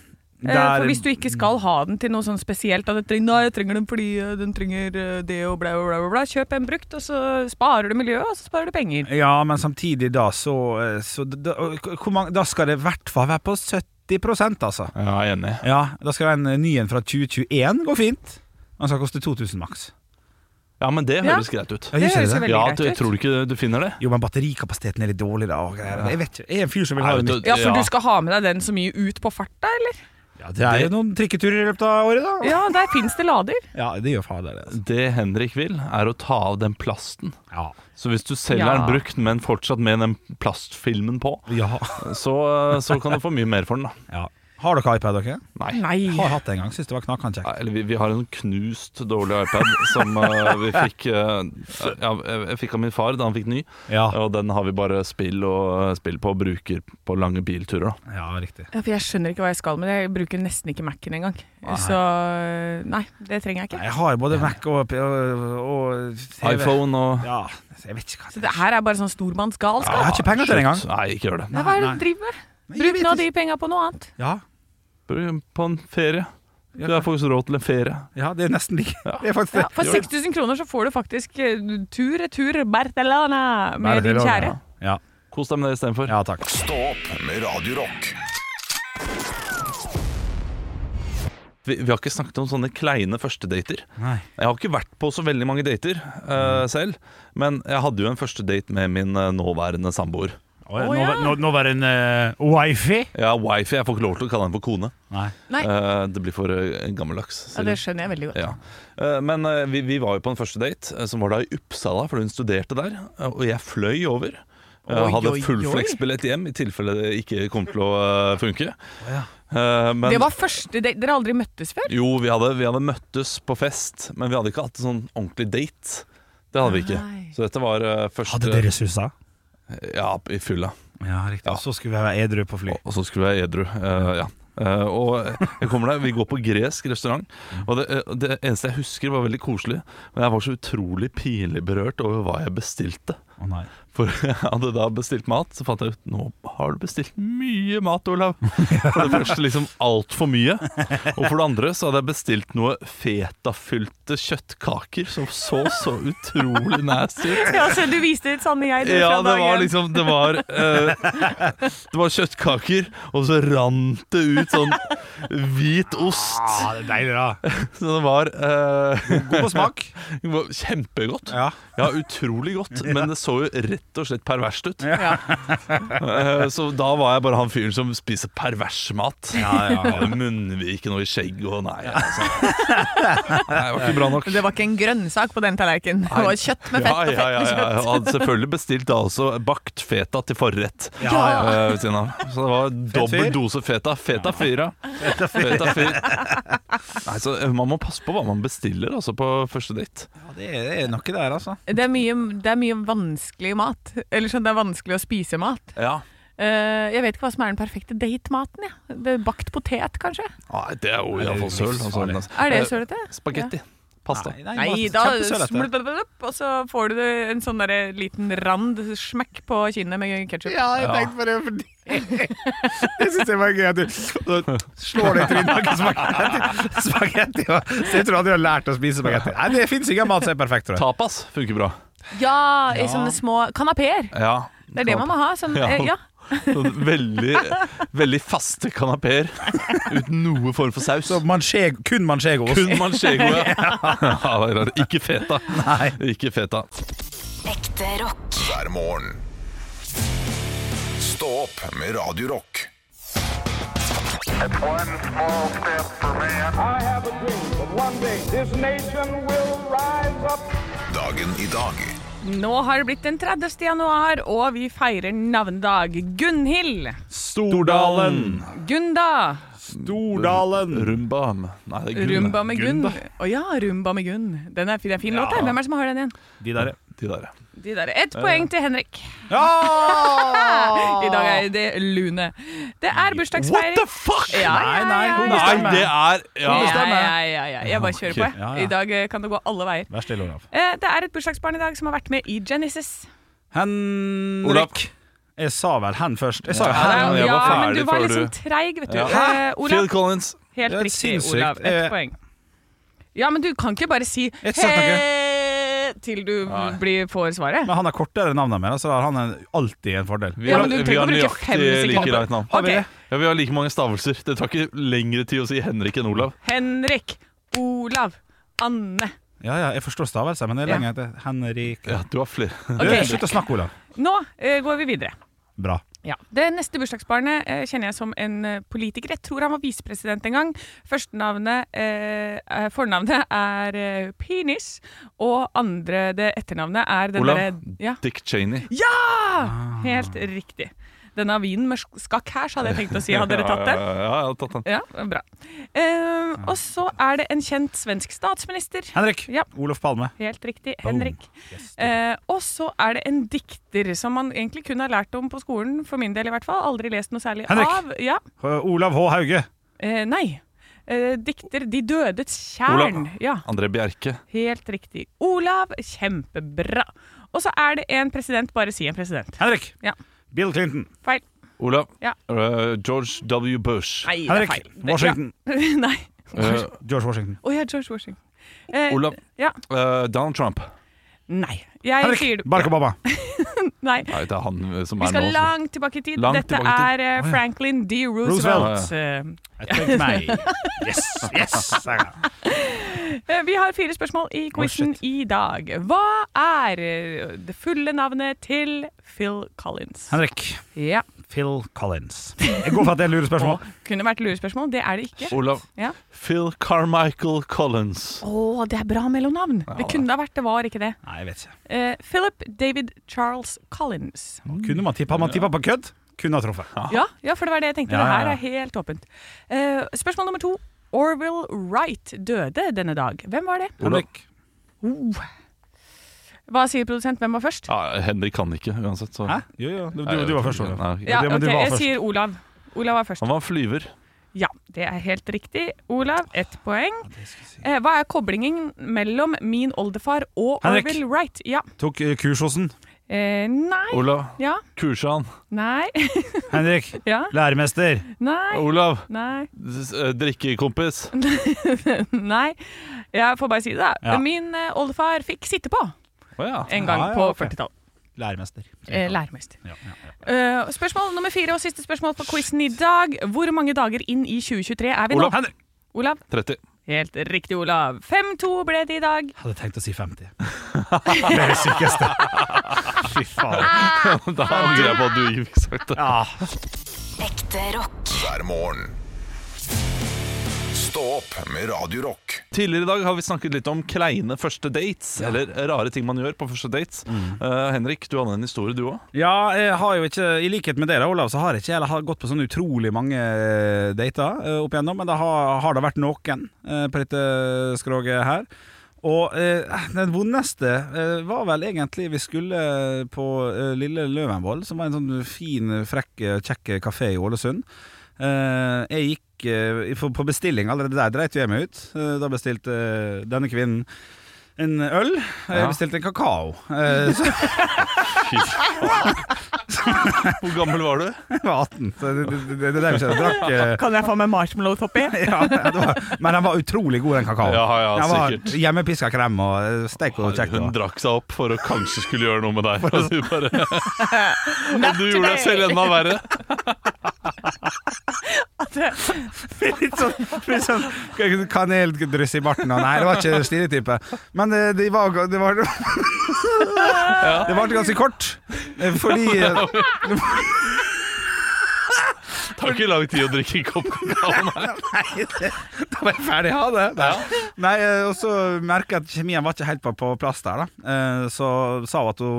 Speaker 3: Eh, For hvis du ikke skal ha den til noe sånn spesielt at du trenger, Nei, jeg trenger den fordi eh, den trenger eh, det og bla, bla, bla, bla, bla. Kjøp en brukt, og så sparer du miljøet, og så sparer du penger.
Speaker 4: Ja, men samtidig da så, eh, så da, hvor mange, da skal det i hvert fall være på 70 altså.
Speaker 2: Ja, enig.
Speaker 4: Ja, da skal en eh, ny en fra 2021 gå fint. Den skal koste 2000 maks.
Speaker 2: Ja, men det
Speaker 3: Ja.
Speaker 2: høres greit ut.
Speaker 4: Ja,
Speaker 3: Det
Speaker 4: gjør ikke
Speaker 3: høres jo
Speaker 4: det?
Speaker 3: veldig
Speaker 2: Ja, du,
Speaker 3: greit ut.
Speaker 2: tror du ikke du finner det?
Speaker 4: Jo, men batterikapasiteten er litt dårlig da. Og greier. Jeg vet ikke, jeg er en fyr som vil ha
Speaker 2: Nei,
Speaker 4: det
Speaker 2: vet
Speaker 4: nytt.
Speaker 2: du,
Speaker 3: Ja, for
Speaker 2: ja.
Speaker 3: du skal ha med deg den så mye ut på farta, eller?
Speaker 4: Ja, det er jo noen trikketurer i løpet av året, da.
Speaker 3: Ja, der fins det lader.
Speaker 4: Ja, det gjør fader det. Altså.
Speaker 2: Det Henrik vil, er å ta av den plasten.
Speaker 4: Ja.
Speaker 2: Så hvis du selger
Speaker 3: Ja.
Speaker 2: den brukt, men fortsatt med den plastfilmen på,
Speaker 4: ja.
Speaker 2: så, så kan du få mye mer for den, da.
Speaker 4: ja. Har dere iPad, dere?
Speaker 2: Nei.
Speaker 3: Nei.
Speaker 4: Jeg har hatt det en gang. Syns det var knakende
Speaker 2: Ja,
Speaker 4: kjekt.
Speaker 2: Eller vi, vi har en knust dårlig iPad som eh, vi fikk eh, ja, jeg- Jeg fikk av min far da han fikk ny,
Speaker 4: Ja.
Speaker 2: og den har vi bare spill og eh, spill på og bruker på lange bilturer. Da.
Speaker 4: ja, riktig.
Speaker 3: Ja, for jeg skjønner ikke hva jeg skal med det. Jeg bruker nesten ikke Mac-en engang. Så eh, nei, det trenger jeg
Speaker 4: Nei,
Speaker 3: ikke.
Speaker 4: Jeg har både Mac og, og, og TV.
Speaker 2: iPhone og
Speaker 4: Ja, jeg vet ikke hva
Speaker 3: Så
Speaker 4: det
Speaker 3: det her er bare sånn stormannsgalskap.
Speaker 4: Jeg har ikke penger til det engang.
Speaker 2: Slutt. Nei, ikke gjør det.
Speaker 3: Nei, hva er det
Speaker 4: Nei.
Speaker 3: du driver med?
Speaker 4: Nei, jeg
Speaker 3: Bruk
Speaker 4: vet
Speaker 3: nå
Speaker 4: ikke.
Speaker 3: de penga på noe annet.
Speaker 4: Ja,
Speaker 2: Bruk På en ferie. Du har faktisk råd til en ferie.
Speaker 4: ja det er nesten like.
Speaker 2: Ja.
Speaker 4: Det er faktisk det.
Speaker 3: Ja, for 6000 kroner så får du faktisk eh, tur-retur Barcelona med din kjære.
Speaker 4: Ja,
Speaker 2: Kos deg med det istedenfor.
Speaker 4: ja takk.
Speaker 1: Stå opp med Radio Rock.
Speaker 2: Vi, vi har ikke snakket om sånne kleine førstedater.
Speaker 4: Nei.
Speaker 2: Jeg har ikke vært på så veldig mange dater
Speaker 4: Mm.
Speaker 2: eh, selv, men jeg hadde jo en første date med min eh, nåværende samboer.
Speaker 4: Å,
Speaker 3: Å, ja.
Speaker 4: nå, nå var det en eh, wifi.
Speaker 2: Ja, wifi. Jeg får ikke lov til å kalle henne for kone.
Speaker 4: Nei.
Speaker 3: Nei,
Speaker 2: Eh, det blir for eh, gammeldags.
Speaker 3: ja, det skjønner jeg veldig godt.
Speaker 2: Ja. Eh, Men eh, vi, vi var jo på en første date, eh, som var da i Uppsala, fordi hun studerte der. eh, Og jeg fløy over. Jeg
Speaker 4: Oi,
Speaker 2: hadde
Speaker 4: oi,
Speaker 2: full
Speaker 4: oi.
Speaker 2: fleksbillett hjem i tilfelle det ikke kom til å eh, funke.
Speaker 4: ja.
Speaker 2: Eh, men-
Speaker 3: Det var første date. Dere har aldri møttes før?
Speaker 2: Jo, vi hadde, vi hadde møttes på fest, men vi hadde ikke hatt en sånn ordentlig date. Det hadde vi ikke.
Speaker 3: Nei.
Speaker 2: Så dette var eh, første
Speaker 4: Hadde dere susa?
Speaker 2: Ja, i fylla.
Speaker 4: Ja, riktig. Og så skulle vi være edru på fly.
Speaker 2: Og, og så skulle jeg edru. eh, ja. Eh, og jeg kommer der, Vi går på gresk restaurant. Og det, eh, det eneste jeg husker, var veldig koselig. Men jeg var så utrolig pinlig berørt over hva jeg bestilte.
Speaker 4: Å nei.
Speaker 2: For jeg hadde da bestilt mat, så fant jeg ut Nå har du bestilt mye mat, Olav For det første liksom alt for mye Og for det andre så hadde jeg bestilt noe fetafylte kjøttkaker Som så så utrolig nasty ut
Speaker 3: Ja, så du viste ditt sanne jeg du
Speaker 2: ja,
Speaker 3: fra
Speaker 2: det var
Speaker 3: dagen.
Speaker 2: liksom Det var, eh, det var kjøttkaker Og så rant det ut sånn hvit ost
Speaker 4: Ah, det er deilig, da.
Speaker 2: Så det var eh,
Speaker 4: God på smak.
Speaker 2: det var kjempegodt
Speaker 4: Ja.
Speaker 2: Ja, utrolig godt Men det så jo rett og slett perverst ut
Speaker 3: Ja.
Speaker 2: Eh, Så da var jeg bare han fyren som spiser pervers mat.
Speaker 4: Ja, ja, ja.
Speaker 2: Hadde Munnviken og i skjegg og nei. Altså. Nei, det var ikke bra nok.
Speaker 3: Det var ikke en grønnsak på den tallerkenen. Det var kjøtt
Speaker 2: Ja,
Speaker 3: med fett
Speaker 2: ja,
Speaker 3: og fett
Speaker 2: ja,
Speaker 3: med
Speaker 2: ja.
Speaker 3: kjøtt.
Speaker 2: Jeg Hadde selvfølgelig bestilt da også bakt feta til forrett.
Speaker 4: Ja, ja.
Speaker 2: eh, ved siden av. Så det var
Speaker 4: fyr.
Speaker 2: dobbel dose feta. Feta fyra. Feta fyr. Nei, så eh, man må passe på hva man bestiller altså, på første date.
Speaker 4: ja det, er, det er noe der, altså.
Speaker 3: Det er, mye, det er mye vanskelig mat. Eller sånn, det er vanskelig å spise mat.
Speaker 2: Ja.
Speaker 3: Eh, jeg vet ikke hva som er den perfekte date-maten. Ja. Det er Bakt potet, kanskje?
Speaker 2: Nei, det er jo iallfall søl. Altså.
Speaker 4: livsfarlig.
Speaker 3: Er det
Speaker 2: Eh,
Speaker 3: sølete?
Speaker 2: Spagetti. Pasta.
Speaker 3: Nei, da smulter det opp, og så får du en sånn der liten rand smekk på kinnet med ketsjup.
Speaker 4: Ja, jeg tenkte på det fordi Det syns jeg var gøy at du slår deg i trynet med spagetti. spagetti. og- Så jeg tror du hadde lært å spise spagetti. Nei, det fins ingen mat som er perfekt, tror jeg.
Speaker 2: Tapas funker bra.
Speaker 3: Ja, i sånne små kanapeer.
Speaker 2: Ja.
Speaker 3: Det er det man må ha. Sånn,
Speaker 2: Ja.
Speaker 3: eh, ja.
Speaker 2: Sånn Veldig, veldig faste kanapeer uten noe form for saus.
Speaker 4: Manchego, kun manchegoost.
Speaker 2: Kun manchego, ja. ja det er rart. Ikke feta.
Speaker 4: Nei.
Speaker 2: Ikke feta.
Speaker 5: Ekte rock.
Speaker 1: hver morgen. Stå opp med Radio Rock.
Speaker 6: One small step for man.
Speaker 7: I have a dream that one day this nation will rise up.
Speaker 1: Dagen i dag
Speaker 3: Nå har det blitt den 30. januar, og vi feirer navnedag. Gunhild,
Speaker 2: Stordalen.
Speaker 3: Gunda,
Speaker 2: Mm.
Speaker 4: Stordalen.
Speaker 2: Rumbam. Nei, det er Gunn.
Speaker 3: Rumba med Gunn.
Speaker 4: Gunda.
Speaker 3: Å ja, Rumba med Gunn. Den er fin, det er en fin låt,
Speaker 4: Ja.
Speaker 3: der. Hvem er det som har den igjen?
Speaker 4: De der,
Speaker 2: De der, ja.
Speaker 3: De der. Ett poeng til Henrik.
Speaker 4: ja.
Speaker 3: I dag er det Lune. Det er bursdagsfeiring.
Speaker 2: What the fuck?!
Speaker 3: Ja, ja,
Speaker 4: Nei, nei,
Speaker 3: ja,
Speaker 4: hun
Speaker 3: ja.
Speaker 2: Nei, det er ja.
Speaker 3: Ja, ja, ja, ja. Jeg bare kjører på, jeg.
Speaker 4: Ja, ja.
Speaker 3: I dag eh, kan det gå alle veier.
Speaker 4: Vær stille, Olav.
Speaker 3: Eh, Det er et bursdagsbarn i dag som har vært med i Genesis.
Speaker 4: Henrik.
Speaker 2: Olav.
Speaker 4: Jeg sa vel hen først. Jeg sa jo
Speaker 2: Ja,
Speaker 4: hen.
Speaker 2: det er
Speaker 3: Ja,
Speaker 2: jeg var
Speaker 3: men du
Speaker 2: ferdig
Speaker 3: var
Speaker 2: før
Speaker 3: litt
Speaker 2: du-
Speaker 3: sånn treig, vet du.
Speaker 2: Ja. Phil
Speaker 3: Eh, Olav,
Speaker 2: Collins.
Speaker 3: helt
Speaker 4: Det er
Speaker 3: riktig,
Speaker 4: sinnssykt.
Speaker 3: Olav. Ett
Speaker 4: Eh,
Speaker 3: poeng. Ja, men du kan ikke bare si
Speaker 4: Jeg sa
Speaker 3: he til du
Speaker 2: Nei.
Speaker 3: blir, får svaret.
Speaker 4: Men han har kortere navn enn meg, så da har han en- alltid en fordel.
Speaker 2: Vi
Speaker 3: Ja,
Speaker 2: har,
Speaker 3: men du
Speaker 2: vi har
Speaker 3: trenger ikke å bruke fem
Speaker 2: nøyaktig
Speaker 3: sekunder.
Speaker 2: like langt navn.
Speaker 3: Har vi det?
Speaker 2: Ja, vi har like mange stavelser. Det tar ikke lengre tid å si Henrik enn Olav.
Speaker 3: Henrik, Olav, Anne.
Speaker 4: Ja, ja, jeg forstår stavelse, men det er
Speaker 3: Ja.
Speaker 4: lenge etter. Henrik
Speaker 2: Ja, du har flere.
Speaker 4: Du,
Speaker 3: Ok.
Speaker 4: Slutt å snakke, Olav.
Speaker 3: Nå eh, går vi videre.
Speaker 4: Bra.
Speaker 3: Ja. Det neste bursdagsbarnet eh, kjenner jeg som en eh, politiker. Jeg tror han var visepresident en gang. Førstenavnet, eh, eh, fornavnet er eh, penis, og andre, det etternavnet er den
Speaker 2: Olav.
Speaker 3: derre- ja.
Speaker 2: Dick Cheney.
Speaker 3: ja! Helt riktig. Denne vinen med sk- skakk her, så hadde jeg tenkt å si. Hadde dere tatt den?
Speaker 2: Ja, ja, ja, jeg har tatt den.
Speaker 3: Ja, bra. Eh, og så er det en kjent svensk statsminister.
Speaker 4: Henrik.
Speaker 3: Ja.
Speaker 4: Olof Palme.
Speaker 3: Helt riktig,
Speaker 4: Boom.
Speaker 3: Henrik. Eh, og så er det en dikter som man egentlig kun har lært om på skolen, for min del i hvert fall. Aldri lest noe særlig
Speaker 4: Henrik.
Speaker 3: av. Ja.
Speaker 4: H- Olav H. Hauge.
Speaker 3: Eh, nei. Eh, dikter De dødes kjern.
Speaker 2: Olav.
Speaker 3: Ja,
Speaker 2: André Bjerke.
Speaker 3: helt riktig. Olav, kjempebra. Og så er det en president. Bare si en president.
Speaker 4: Henrik.
Speaker 3: Ja.
Speaker 4: Bill Clinton.
Speaker 3: Feil.
Speaker 2: Olav.
Speaker 3: Ja.
Speaker 2: Eh, George W. Bush.
Speaker 3: Nei, det er
Speaker 4: Henrik.
Speaker 3: feil. Det-
Speaker 4: Washington.
Speaker 3: Ja. nei.
Speaker 2: Eh,
Speaker 4: George Washington.
Speaker 3: Å ja, George Washington. Eh,
Speaker 2: Olav.
Speaker 3: Ja.
Speaker 2: eh, Donald Trump.
Speaker 3: Nei. Jeg sier
Speaker 4: Henrik.
Speaker 3: du
Speaker 4: Barack Obama.
Speaker 3: Nei.
Speaker 2: Nei, det er han eh, som
Speaker 3: Vi
Speaker 2: er
Speaker 3: skal
Speaker 2: nå. også.
Speaker 3: langt tilbake i tid.
Speaker 2: Langt
Speaker 3: Dette
Speaker 2: tilbake i
Speaker 3: er eh, Franklin D. Roosevelt.
Speaker 2: Roosevelt.
Speaker 3: Eh,
Speaker 4: Jeg tenkte meg. Yes, yes.
Speaker 3: Eh, Vi har fire spørsmål i quizen
Speaker 4: shit.
Speaker 3: i dag. Hva er eh, det fulle navnet til Phil Collins?
Speaker 4: Henrik.
Speaker 3: Ja,
Speaker 4: Phil Collins. Jeg går for at det er lurespørsmål.
Speaker 3: Kunne vært lurespørsmål, det er det ikke.
Speaker 2: Olav.
Speaker 3: Ja.
Speaker 2: Phil Carmichael Collins.
Speaker 3: Å, det er bra mellomnavn! Det kunne det ha vært, det var ikke det.
Speaker 4: Nei, jeg vet ikke.
Speaker 3: Eh, Philip David Charles Collins.
Speaker 4: Kunne man tippa? Man tippa på kødd. Kunne ha truffet.
Speaker 3: Ja, ja, for det var det jeg tenkte.
Speaker 4: Ja,
Speaker 3: Det
Speaker 4: ja,
Speaker 3: her
Speaker 4: ja.
Speaker 3: er helt åpent. Eh, spørsmål nummer to. Orville Wright døde denne dag. Hvem var det?
Speaker 4: Henrik.
Speaker 3: Hva sier produsent? Hvem var først?
Speaker 2: Ja, Henrik kan ikke uansett, så
Speaker 4: Hæ? Jo, jo. Du, du, du var først, Olav.
Speaker 2: Nei,
Speaker 3: Ja,
Speaker 4: det, men
Speaker 3: ok,
Speaker 4: du var
Speaker 3: jeg
Speaker 4: først.
Speaker 3: sier Olav. Olav var først.
Speaker 2: Han var en flyver.
Speaker 3: Ja, det er helt riktig. Olav, ett poeng. Eh, hva er koblingen mellom min oldefar og
Speaker 4: Henrik.
Speaker 3: Orville Wright? Ja.
Speaker 4: Tok eh, kurs hos den.
Speaker 3: Eh, nei.
Speaker 2: Olav.
Speaker 3: Ja.
Speaker 2: Kursan.
Speaker 3: Nei.
Speaker 4: Henrik.
Speaker 3: ja.
Speaker 4: Læremester.
Speaker 3: Nei.
Speaker 2: Olav.
Speaker 3: Nei.
Speaker 2: s- eh, Drikkekompis.
Speaker 3: Nei. Jeg får bare si det, da.
Speaker 4: Ja. Ah,
Speaker 3: Min eh, oldefar fikk sitte på
Speaker 2: Å ja.
Speaker 3: en gang
Speaker 4: Ja, ja,
Speaker 3: på
Speaker 4: ok.
Speaker 3: 40-tallet.
Speaker 4: Læremester.
Speaker 3: Eh, læremester.
Speaker 4: Ja, ja, ja.
Speaker 3: Eh, spørsmål nummer fire og siste spørsmål på quizen i dag. Hvor mange dager inn i 2023 er vi nå?
Speaker 2: Olav.
Speaker 4: Henrik.
Speaker 3: Olav.
Speaker 2: 30.
Speaker 3: Helt riktig, Olav. 5-2 ble det i dag.
Speaker 4: Hadde tenkt å si 50. Det er det sykeste. Fy faen.
Speaker 2: Da angrer jeg på at du ikke fikk sagt det.
Speaker 4: Ja.
Speaker 5: Ekte rock.
Speaker 1: hver morgen. Stå opp med Radio Rock.
Speaker 2: Tidligere i dag har vi snakket litt om kleine første dates, eller rare ting man gjør på første dates. Eh, Henrik, du hadde en historie, du òg.
Speaker 4: ja, jeg har jo ikke, i likhet med dere, Olav, så har jeg ikke jeg har gått på sånn utrolig mange eh, dater eh, opp igjennom, men det har, har det vært noen eh, på dette skroget her. Og eh, den vondeste eh, var vel egentlig vi skulle på eh, Lille Løvenvoll, som var en sånn fin, frekk, kjekk kafé i Ålesund. Eh, jeg gikk eh, på på bestilling, allerede der dreit jo jeg meg ut. Eh, da bestilte eh, denne kvinnen en øl. Jeg
Speaker 2: Ja.
Speaker 4: bestilte en kakao. Eh, så,
Speaker 2: Fy faen. Hvor gammel var du?
Speaker 4: Jeg var 18, så det, det, det, det er ikke jeg drakk. eh,
Speaker 3: Kan jeg få meg marshmallows oppi?
Speaker 4: Ja, det var, men den var utrolig god, den kakaoen.
Speaker 2: Ja, ja,
Speaker 4: den var
Speaker 2: sikkert.
Speaker 4: hjemmepiska krem og eh, stek og kjekt.
Speaker 2: Hun
Speaker 4: og-
Speaker 2: drakk seg opp for å kanskje skulle gjøre noe med deg. Og du, bare, og du gjorde deg selv enda verre.
Speaker 4: Litt sånn, litt sånn kaneldryss i barten. Og nei, det var ikke stilig type. Men det, det var Det var det varte ganske kort, eh, fordi eh,
Speaker 2: Det tar ikke lang tid å drikke en kopp kakao. nei.
Speaker 4: Nei, det- da var jeg ferdig. Ha det. Nei, eh, og så merka jeg at kjemien var ikke helt på, på plass der, da. Eh, Så sa hun at hun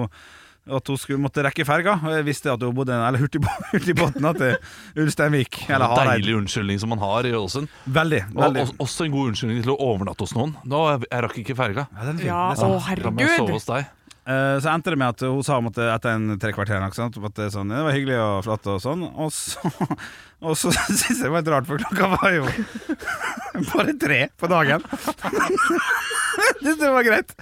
Speaker 4: at hun skulle måtte rekke ferga. Og Jeg visste at hun bodde Eller hurtigbå- hurtigbåten til Ulsteinvik. Eller Hareid.
Speaker 2: Deilig unnskyldning som man har i Ålesund.
Speaker 4: Veldig.
Speaker 2: Og
Speaker 4: veldig.
Speaker 2: og- også en god unnskyldning til å overnatte hos noen. Nå, jeg, jeg rakk ikke ferga.
Speaker 4: Ja, den er fin.
Speaker 3: Ja,
Speaker 4: Det er
Speaker 3: å
Speaker 4: sånn sant.
Speaker 2: La meg sove
Speaker 3: herregud.
Speaker 2: hos deg.
Speaker 4: Eh, Så endte det med at hun sa om at det- etter en tre kvarter eller noe sånt, at det, er sånn, det var hyggelig og flott og sånn. Og så, og så synes jeg det var litt rart, for klokka var jo bare tre på dagen. Jeg synes det var greit.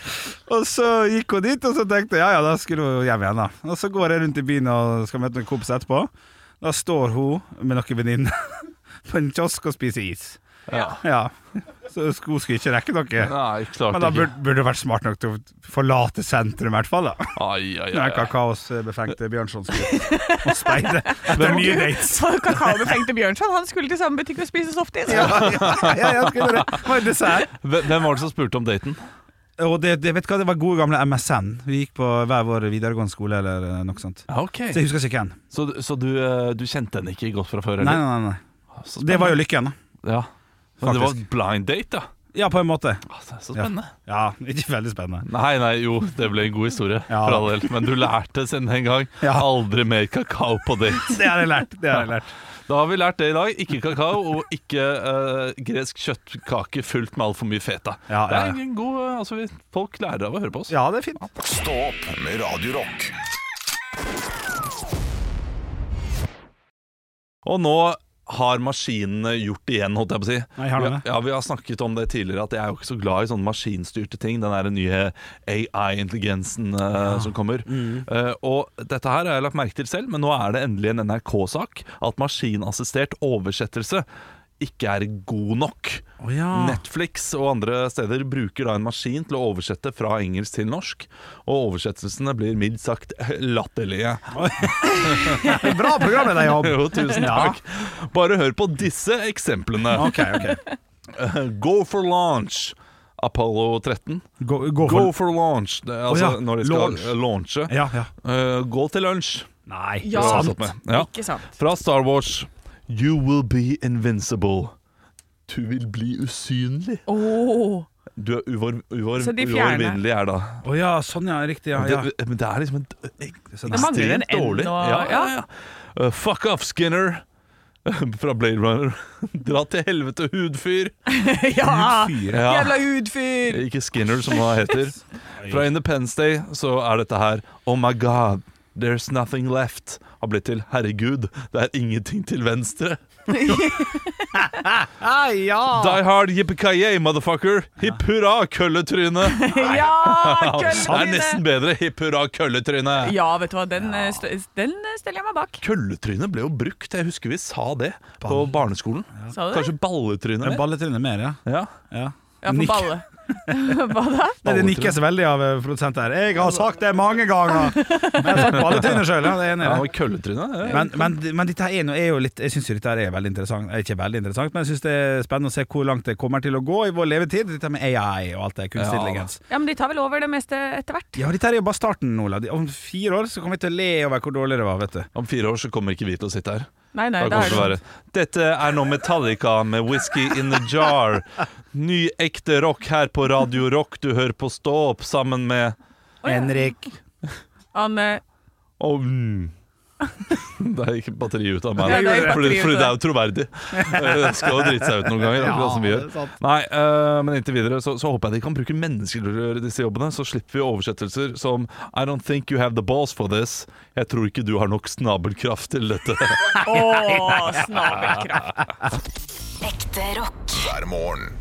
Speaker 4: Og så gikk hun dit, og så tenkte jeg ja ja, da skulle hun hjem igjen, da. Og så går jeg rundt i byen og skal møte noen kompiser etterpå. Da står hun med noen venninner på en kiosk og spiser is.
Speaker 2: Ja.
Speaker 4: Ja. Så hun skulle ikke rekke noe.
Speaker 2: Nei, klart
Speaker 4: Men da
Speaker 2: ikke.
Speaker 4: burde, burde du vært smart nok til å forlate sentrum, i hvert fall. da
Speaker 2: Ai, ai, ai,
Speaker 4: Når den
Speaker 2: ai.
Speaker 4: kakaosbefengte Bjørnson skulle og speide etter nye dates.
Speaker 3: Så kakaobefengte Bjørnson Han skulle til samme butikk og spise softis.
Speaker 4: Ja, ja, ja, ja, skulle det Det var en dessert.
Speaker 2: Hvem hvem var det som spurte om daten?
Speaker 4: Og det, det, vet du hva, det var gode gamle MSN. Vi gikk på hver vår videregående skole eller eh, noe sånt. Så jeg husker ikke hvem.
Speaker 2: Så, så du, eh, du kjente henne ikke godt fra før?
Speaker 4: Nei, nei, nei, nei. Det var jo lykken, da.
Speaker 2: Ja. Men det var
Speaker 4: Faktisk.
Speaker 2: blind date, da.
Speaker 4: Ja, på en måte.
Speaker 2: Altså, så spennende.
Speaker 4: Ja, ikke veldig spennende.
Speaker 2: Nei, nei, jo, det ble en god historie,
Speaker 4: Ja.
Speaker 2: for all del. Men du lærte siden den gang.
Speaker 4: Ja.
Speaker 2: Aldri mer kakao på date.
Speaker 4: Det har jeg lært. Det har jeg lært.
Speaker 2: Da har vi lært det i dag. Ikke kakao, og ikke eh, gresk kjøttkake fullt med altfor mye feta.
Speaker 4: Ja,
Speaker 2: det
Speaker 4: ja,
Speaker 2: er en god, eh, altså, vi- Folk lærer av å høre på oss.
Speaker 4: Ja, det er fint.
Speaker 1: Stå opp med Radio Rock.
Speaker 2: Og nå har maskinene gjort det igjen, holdt jeg på å si.
Speaker 4: Nei, har de det?
Speaker 2: Ja, Vi har snakket om det tidligere, at jeg er jo ikke så glad i sånne maskinstyrte ting. Den der nye AI-intelligensen eh, som kommer.
Speaker 4: Mm.
Speaker 2: Eh, og dette her har jeg lagt merke til selv, men nå er det endelig en NRK-sak at maskinassistert oversettelse ikke er god nok.
Speaker 4: Å ja.
Speaker 2: Netflix og andre steder bruker da en maskin til å oversette fra engelsk til norsk, og oversettelsene blir mildt sagt latterlige.
Speaker 4: Bra program er det, jobb.
Speaker 2: Jo, tusen
Speaker 4: Ja.
Speaker 2: takk. Bare hør på disse eksemplene.
Speaker 4: OK, OK.
Speaker 2: Go for launch Apollo 13
Speaker 4: Gå, gå
Speaker 2: Go
Speaker 4: for
Speaker 2: for launch Det er altså
Speaker 4: Å ja,
Speaker 2: når de skal
Speaker 4: launch.
Speaker 2: eh, launche
Speaker 4: Ja, ja.
Speaker 2: Eh, Gå til lunsj
Speaker 4: Nei.
Speaker 2: Det
Speaker 3: Ja,
Speaker 2: var
Speaker 3: sant.
Speaker 2: satt med. Ja.
Speaker 3: Ikke sant.
Speaker 2: Fra Star Wars You will be invincible Du vil bli usynlig
Speaker 3: Åh.
Speaker 2: Du er uvår, uvår,
Speaker 3: Så de fjerner.
Speaker 2: uovervinnelig her da
Speaker 4: Å ja, sånn ja. Riktig, ja. ja.
Speaker 2: det, Men det er liksom en, en
Speaker 4: Sånn,
Speaker 3: Det mangler en
Speaker 2: ekstremt
Speaker 3: N
Speaker 2: dårlig
Speaker 3: og-
Speaker 2: ja, ja, ja. Eh, Fuck off Skinner Fra Blade Runner Dra til helvete hudfyr Ah.
Speaker 3: Ja!
Speaker 4: Fyr.
Speaker 2: Ja.
Speaker 3: Jævla utfyr!
Speaker 2: Ikke Skinner, som han heter. Fra Independence Day så er dette her Oh my God, there's nothing left. Har blitt til Herregud, det er ingenting til venstre. Die hard yippee motherfucker. Hipp hurra, kølletryne. Det
Speaker 3: Ja!
Speaker 2: er
Speaker 3: Kølletryne!
Speaker 2: nesten bedre. Hipp hurra, kølletryne.
Speaker 3: Ja, vet du hva, den, eh, st- den eh, steller jeg meg bak.
Speaker 2: Kølletryne ble jo brukt, jeg husker vi sa det på barneskolen.
Speaker 3: Sa du det?
Speaker 2: Kanskje balletryne?
Speaker 4: Ja,
Speaker 2: mer?
Speaker 4: Balletrynet mer, ja.
Speaker 2: Ja.
Speaker 4: ja.
Speaker 3: Ja, for
Speaker 4: Nikk.
Speaker 3: balle. Hva da?
Speaker 4: Nei, det nikkes veldig av eh, produsent her. Jeg har sagt det mange ganger! Jeg har sagt balletrynet sjøl, ja. Det er enig
Speaker 2: Ja,
Speaker 4: i
Speaker 2: og
Speaker 4: det.
Speaker 2: kølletryne? ja.
Speaker 4: Men, men, men dette her er, nå- er jo litt Jeg syns dette her er veldig interessant. Eh, Ikke veldig interessant, men jeg syns det er spennende å se hvor langt det kommer til å gå i vår levetid. Dette med AI og alt det kunstig
Speaker 2: Ja.
Speaker 4: intelligens.
Speaker 3: Ja, men de tar vel over det meste etter hvert.
Speaker 4: Ja, dette her er jo bare starten, Ola. Om fire år så kommer vi til å le over hvor dårlig det var, vet du.
Speaker 2: Om fire år så kommer ikke vi til å sitte her.
Speaker 3: Nei, nei,
Speaker 2: Da
Speaker 3: da
Speaker 2: kommer
Speaker 3: er
Speaker 2: det være
Speaker 3: det
Speaker 2: Dette er nå Metallica med Whisky in the Jar. Ny ekte rock her på Radio Rock. Du hører på Stå opp sammen med
Speaker 4: Henrik.
Speaker 3: han eh,
Speaker 2: Å, mm. Der gikk batteriet ut av meg.
Speaker 3: Ja, det gikk
Speaker 2: fordi,
Speaker 3: batteriet ut
Speaker 2: fordi det er
Speaker 3: av
Speaker 2: jo troverdig. Det skal jo drite seg ut noen ganger, akkurat som vi gjør. Nei, eh, men inntil videre så, så håper jeg de kan bruke mennesker til å gjøre disse jobbene. Så slipper vi oversettelser som I don't think you have the balls for this. Jeg tror ikke du har nok snabelkraft til dette.
Speaker 3: Å, snabelkraft.
Speaker 5: Ekte rock.
Speaker 1: Hver morgen.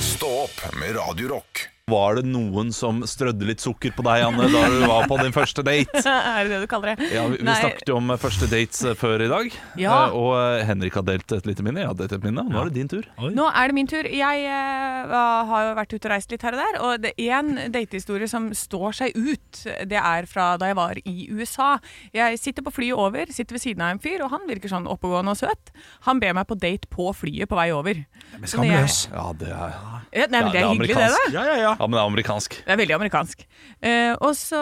Speaker 1: Stå opp med Radio Rock.
Speaker 2: Var det noen som strødde litt sukker på deg, Anne, da du var på din første date?
Speaker 3: er det det du kaller det?
Speaker 2: Ja, vi, vi
Speaker 3: Nei.
Speaker 2: snakket jo om første dates eh, før i dag,
Speaker 3: Ja.
Speaker 2: eh, og eh, Henrik har delt et lite minne. Jeg har delt et minne, og nå er det din tur.
Speaker 3: Nå er det min tur. Jeg eh, har jo vært ute og reist litt her og der. Og det én datehistorie som står seg ut, det er fra da jeg var i USA. Jeg sitter på flyet over, sitter ved siden av en fyr, og han virker sånn oppegående og søt. Han ber meg på date på flyet på vei over. Så når jeg-
Speaker 4: Skamløs.
Speaker 2: Ja, det er,
Speaker 3: Ja, Nei, men det er hyggelig, det, da.
Speaker 2: amerikansk.
Speaker 4: Ja, ja, ja.
Speaker 2: Ja, men det er amerikansk.
Speaker 3: Det er veldig amerikansk. Eh, og så,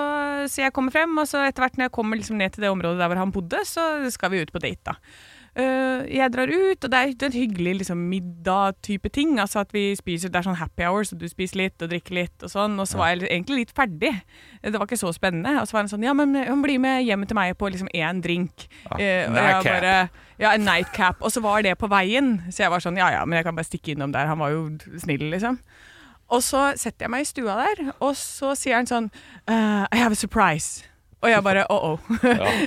Speaker 3: så jeg kommer frem, og så etter hvert når jeg kommer liksom ned til det området der hvor han bodde, så skal vi ut på date, da. Eh, jeg drar ut, og det er en hyggelig liksom, middag-type ting. Altså at vi spiser, Det er sånn happy hour, så du spiser litt og drikker litt og sånn. Og så var jeg egentlig litt ferdig. Det var ikke så spennende. Og så var han sånn Ja, men eh, bli med hjem til meg på liksom én drink. Eh, og jeg
Speaker 2: nightcap.
Speaker 3: bare Ja, en nightcap. Og så var det på veien. Så jeg var sånn Ja ja, men jeg kan bare stikke innom der. Han var jo snill, liksom. Og så setter jeg meg i stua der, og så sier han sånn «Eh, I have a surprise. Og jeg bare oh oh.